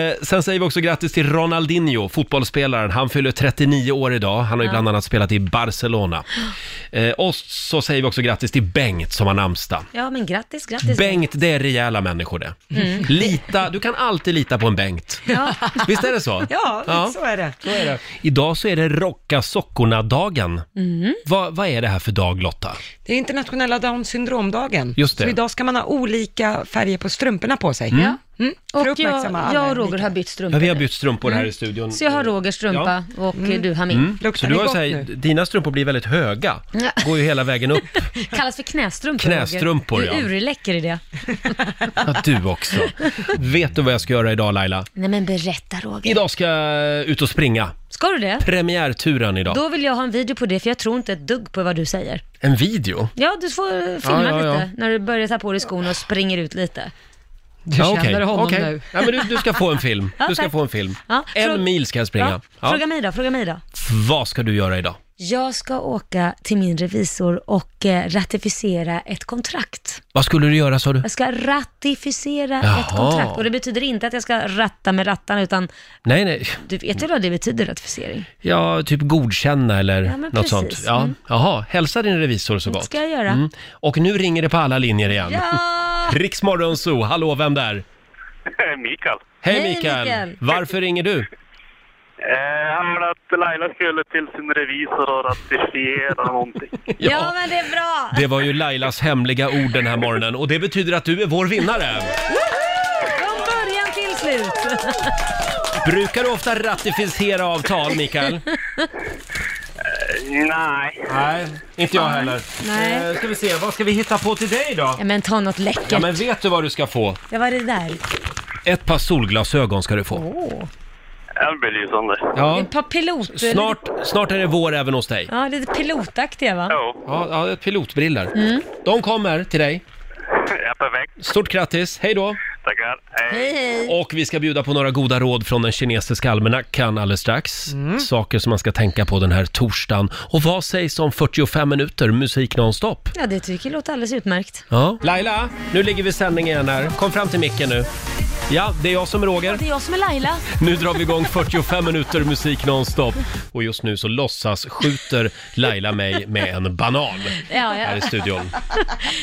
[SPEAKER 1] Eh, sen säger vi också grattis till Ronaldinho, fotbollsspelaren. Han fyller 39 år idag. Han har ju
[SPEAKER 17] Ja.
[SPEAKER 1] bland annat spelat i Barcelona. Eh, och så säger vi också grattis till Bengt som har namnsdag.
[SPEAKER 2] Ja, men grattis, grattis.
[SPEAKER 1] Bengt, det är rejäla människor det.
[SPEAKER 2] Mm.
[SPEAKER 1] Lita, du kan alltid lita på en Bengt.
[SPEAKER 2] Ja.
[SPEAKER 1] Visst är det så?
[SPEAKER 3] Ja, så är det.
[SPEAKER 1] Idag så är det rocka sockorna-dagen.
[SPEAKER 2] Mm.
[SPEAKER 1] Vad, vad är det här för dag, Lotta? prata.
[SPEAKER 3] Det är internationella down syndromdagen.
[SPEAKER 1] Just det.
[SPEAKER 3] Så idag ska man ha olika färger på strumporna på sig.
[SPEAKER 1] Mm. Ja.
[SPEAKER 3] Mm. För att
[SPEAKER 2] Och
[SPEAKER 3] uppmärksamma
[SPEAKER 2] jag,
[SPEAKER 3] alla
[SPEAKER 2] jag och Roger
[SPEAKER 3] lika.
[SPEAKER 2] har bytt
[SPEAKER 1] Ja,
[SPEAKER 2] strumpor.
[SPEAKER 1] vi har bytt strumpor här
[SPEAKER 2] Mm.
[SPEAKER 1] i studion.
[SPEAKER 2] Så jag har Rogers strumpa och eh, du har min.
[SPEAKER 1] Mm. Så du har så här, dina strumpor blir väldigt höga.
[SPEAKER 2] Ja.
[SPEAKER 1] Går ju hela vägen upp.
[SPEAKER 2] Kallas för knästrumpor.
[SPEAKER 1] Knästrumpor,
[SPEAKER 2] Roger. Du är
[SPEAKER 1] ja.
[SPEAKER 2] urläcker i det.
[SPEAKER 1] Ja, du också. Vet du vad jag ska göra idag Laila?
[SPEAKER 2] Nej men berätta Roger.
[SPEAKER 1] Idag ska jag ut och springa.
[SPEAKER 2] Ska du det?
[SPEAKER 1] Premiärturen idag.
[SPEAKER 2] Då vill jag ha en video på det för jag tror inte ett dugg på vad du säger.
[SPEAKER 1] En video?
[SPEAKER 2] Ja, du får eh, filma
[SPEAKER 1] Ja, ja, ja.
[SPEAKER 2] lite när du börjar ta på dig skorna och springer ut lite.
[SPEAKER 1] Du
[SPEAKER 2] känner honom nu.
[SPEAKER 1] Ja, men du, du ska få en film.
[SPEAKER 2] Ja,
[SPEAKER 1] Du ska
[SPEAKER 2] tack.
[SPEAKER 1] få en film.
[SPEAKER 2] Ja,
[SPEAKER 1] En
[SPEAKER 2] frå-
[SPEAKER 1] mil ska jag springa.
[SPEAKER 2] Bra. Fråga mig då, fråga mig då.
[SPEAKER 1] Vad ska du göra idag?
[SPEAKER 2] Jag ska åka till min revisor och eh, ratificera ett kontrakt.
[SPEAKER 1] Vad skulle du göra sa du?
[SPEAKER 2] Jag ska ratificera
[SPEAKER 1] Jaha.
[SPEAKER 2] ett kontrakt och det betyder inte att jag ska ratta med rattarna utan
[SPEAKER 1] Nej, nej.
[SPEAKER 2] du vet ju vad det betyder ratificering.
[SPEAKER 1] Ja, typ godkänna eller
[SPEAKER 2] Ja, men
[SPEAKER 1] något
[SPEAKER 2] precis.
[SPEAKER 1] sånt. Ja.
[SPEAKER 2] Mm.
[SPEAKER 1] Jaha, hälsa din revisor så gott. Mm.
[SPEAKER 2] ska jag göra.
[SPEAKER 1] Och nu ringer det på alla linjer igen.
[SPEAKER 2] Ja!
[SPEAKER 1] Riksmorgon Zoo, hallå, vem där?
[SPEAKER 7] Mikael.
[SPEAKER 1] Hej
[SPEAKER 7] Hej,
[SPEAKER 1] Mikael!
[SPEAKER 7] Mikael.
[SPEAKER 1] Varför ringer du?
[SPEAKER 7] Eh, han ville att Laila skulle till sin revisor och ratifiera någonting.
[SPEAKER 1] Ja.
[SPEAKER 2] men det är bra!
[SPEAKER 1] Det var ju Lailas hemliga ord den här morgonen och det betyder att du är vår vinnare.
[SPEAKER 2] Från början till slut.
[SPEAKER 1] Brukar du ofta ratificera avtal, Mikael?
[SPEAKER 7] Nej.
[SPEAKER 1] Nej, inte jag heller.
[SPEAKER 2] Nej.
[SPEAKER 1] Eh, ska vi se, vad ska vi hitta på till dig då?
[SPEAKER 2] Ja, men ta något läckert.
[SPEAKER 1] Ja, men vet du vad du ska få?
[SPEAKER 2] Det var det där.
[SPEAKER 1] Ett par solglasögon ska du få.
[SPEAKER 2] Åh.
[SPEAKER 7] Den blir lysande.
[SPEAKER 1] Ja.
[SPEAKER 2] Ett par pilot...
[SPEAKER 1] Snart, snart är det vår även hos dig.
[SPEAKER 2] Ja, lite pilotaktiga va?
[SPEAKER 1] Ja, ja pilotbriller.
[SPEAKER 2] Mm.
[SPEAKER 1] De kommer till dig.
[SPEAKER 7] Ja, perfekt.
[SPEAKER 1] Stort grattis, hej då!
[SPEAKER 7] Tackar.
[SPEAKER 2] Hej, hej.
[SPEAKER 1] Och vi ska bjuda på några goda råd från den kinesiska almanackan alldeles strax.
[SPEAKER 2] Mm.
[SPEAKER 1] Saker som man ska tänka på den här torsdagen. Och vad sägs om 45 minuter musik nonstop?
[SPEAKER 2] Ja, det tycker jag låter alldeles utmärkt.
[SPEAKER 1] Ja. Laila, nu ligger vi i sändning igen här. Kom fram till micken nu. Ja, det är jag som är Roger.
[SPEAKER 2] Det är jag som är Laila.
[SPEAKER 1] Nu drar vi igång 45 minuter musik nonstop. Och just nu så låtsas skjuter Laila mig med en banan
[SPEAKER 2] Ja, ja.
[SPEAKER 1] här i studion.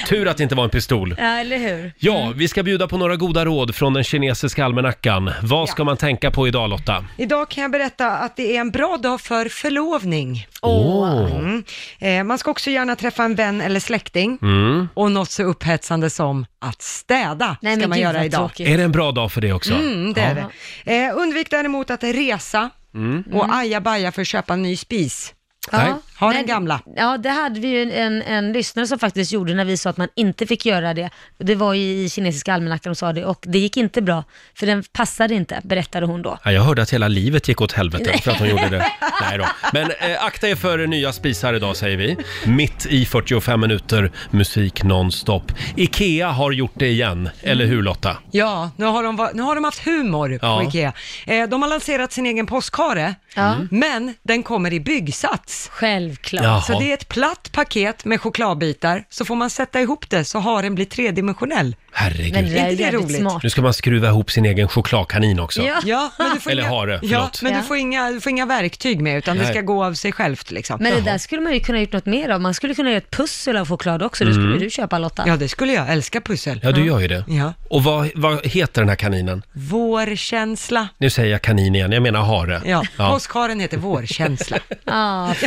[SPEAKER 1] Tur att det inte var en pistol.
[SPEAKER 2] Ja, eller hur?
[SPEAKER 1] Ja, vi ska bjuda på några goda råd från den kinesiska almanackan. Vad ska man tänka på idag Lotta?
[SPEAKER 3] Idag kan jag berätta att det är en bra dag för förlovning.
[SPEAKER 1] Åh.
[SPEAKER 3] Mm. Eh, man ska också gärna träffa en vän eller släkting.
[SPEAKER 1] Mm.
[SPEAKER 3] Och något så upphetsande som att städa
[SPEAKER 2] Nej,
[SPEAKER 3] ska
[SPEAKER 2] men
[SPEAKER 3] man
[SPEAKER 2] gud,
[SPEAKER 3] göra
[SPEAKER 2] vad
[SPEAKER 3] idag.
[SPEAKER 2] tråkigt.
[SPEAKER 1] Är det en bra dag för det också?
[SPEAKER 3] Mm, det är det. Eh, undvik däremot att resa
[SPEAKER 1] Mm.
[SPEAKER 3] och ajabaja för att köpa en ny spis.
[SPEAKER 1] Nej.
[SPEAKER 3] Ha den gamla.
[SPEAKER 2] Ja, det hade vi ju en, en, en lyssnare som faktiskt gjorde när vi sa att man inte fick göra det. Det var ju i kinesiska almanackan de sa det och det gick inte bra, för den passade inte, berättade hon då.
[SPEAKER 1] Ja, jag hörde att hela livet gick åt helvete
[SPEAKER 2] Nej.
[SPEAKER 1] för att hon gjorde det. Nej då. Men eh, akta er för nya spisar idag säger vi. Mitt i 45 minuter musik nonstop. Ikea har gjort det igen, eller hur Lotta?
[SPEAKER 3] Ja, nu har de, va- nu har de haft humor
[SPEAKER 1] Ja.
[SPEAKER 3] på IKEA. Eh, de har lanserat sin egen postkare, Mm. men den kommer i byggsats.
[SPEAKER 2] Självklart.
[SPEAKER 1] Jaha.
[SPEAKER 3] Så det är ett platt paket med chokladbitar, så får man sätta ihop det så har den blir tredimensionell.
[SPEAKER 1] Herregud.
[SPEAKER 3] Är inte det roligt?
[SPEAKER 1] Nu ska man skruva ihop sin egen chokladkanin också.
[SPEAKER 3] Ja. men du får
[SPEAKER 1] Eller
[SPEAKER 3] inga,
[SPEAKER 1] hare,
[SPEAKER 3] ja,
[SPEAKER 1] förlåt.
[SPEAKER 3] men
[SPEAKER 1] Ja.
[SPEAKER 3] du, får inga, du får inga verktyg med, utan
[SPEAKER 1] Nej.
[SPEAKER 3] det ska gå av sig självt liksom.
[SPEAKER 2] Men det där skulle man ju kunna gjort något mer av. Man skulle kunna göra ett pussel av choklad också. Det skulle
[SPEAKER 1] Mm.
[SPEAKER 2] du köpa Lotta.
[SPEAKER 3] Ja, det skulle jag. Älskar pussel.
[SPEAKER 1] Ja, du gör ju det.
[SPEAKER 3] Ja.
[SPEAKER 1] Och vad, vad heter den här kaninen?
[SPEAKER 3] Vårkänsla.
[SPEAKER 1] Nu säger jag kanin igen, jag menar hare.
[SPEAKER 3] Ja,
[SPEAKER 1] Ja.
[SPEAKER 3] påskharen heter vårkänsla.
[SPEAKER 2] ah,
[SPEAKER 3] fint.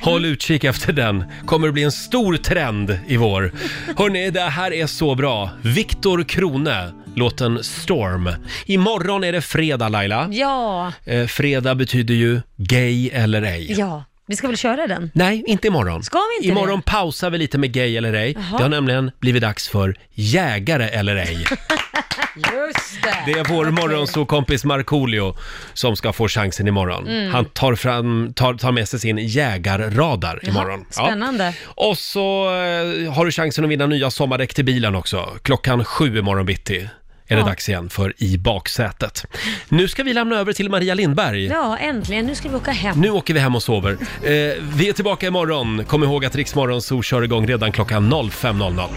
[SPEAKER 1] Håll utkik efter den. Kommer det bli en stor trend i vår. Hörni, det här är så bra. Viktor Krone, låten Storm. Imorgon är det fredag Laila.
[SPEAKER 2] Ja.
[SPEAKER 1] Eh, fredag betyder ju gay eller ej.
[SPEAKER 2] Ja. Vi ska väl köra den?
[SPEAKER 1] Nej, inte imorgon.
[SPEAKER 2] Ska vi inte
[SPEAKER 1] imorgon pausar vi lite med gay eller ej.
[SPEAKER 2] Jaha.
[SPEAKER 1] Det har nämligen blivit dags för jägare eller ej.
[SPEAKER 3] Just det.
[SPEAKER 1] Det är vår morgonsåkompis Markoolio som ska få chansen imorgon.
[SPEAKER 2] Mm.
[SPEAKER 1] Han tar, fram, tar, tar med sig sin jägarradar imorgon. Ja.
[SPEAKER 2] Spännande.
[SPEAKER 1] Och så eh, har du chansen att vinna nya sommardäck till bilen också. Klockan sju imorgon bitti är det
[SPEAKER 2] Ja.
[SPEAKER 1] dags igen för I baksätet. Nu ska vi lämna över till Maria Lindberg.
[SPEAKER 2] Ja, äntligen. Nu ska vi åka hem.
[SPEAKER 1] Nu åker vi hem och sover. Eh, vi är tillbaka imorgon. Kom ihåg att Riksmorgon så kör igång redan klockan 05.00.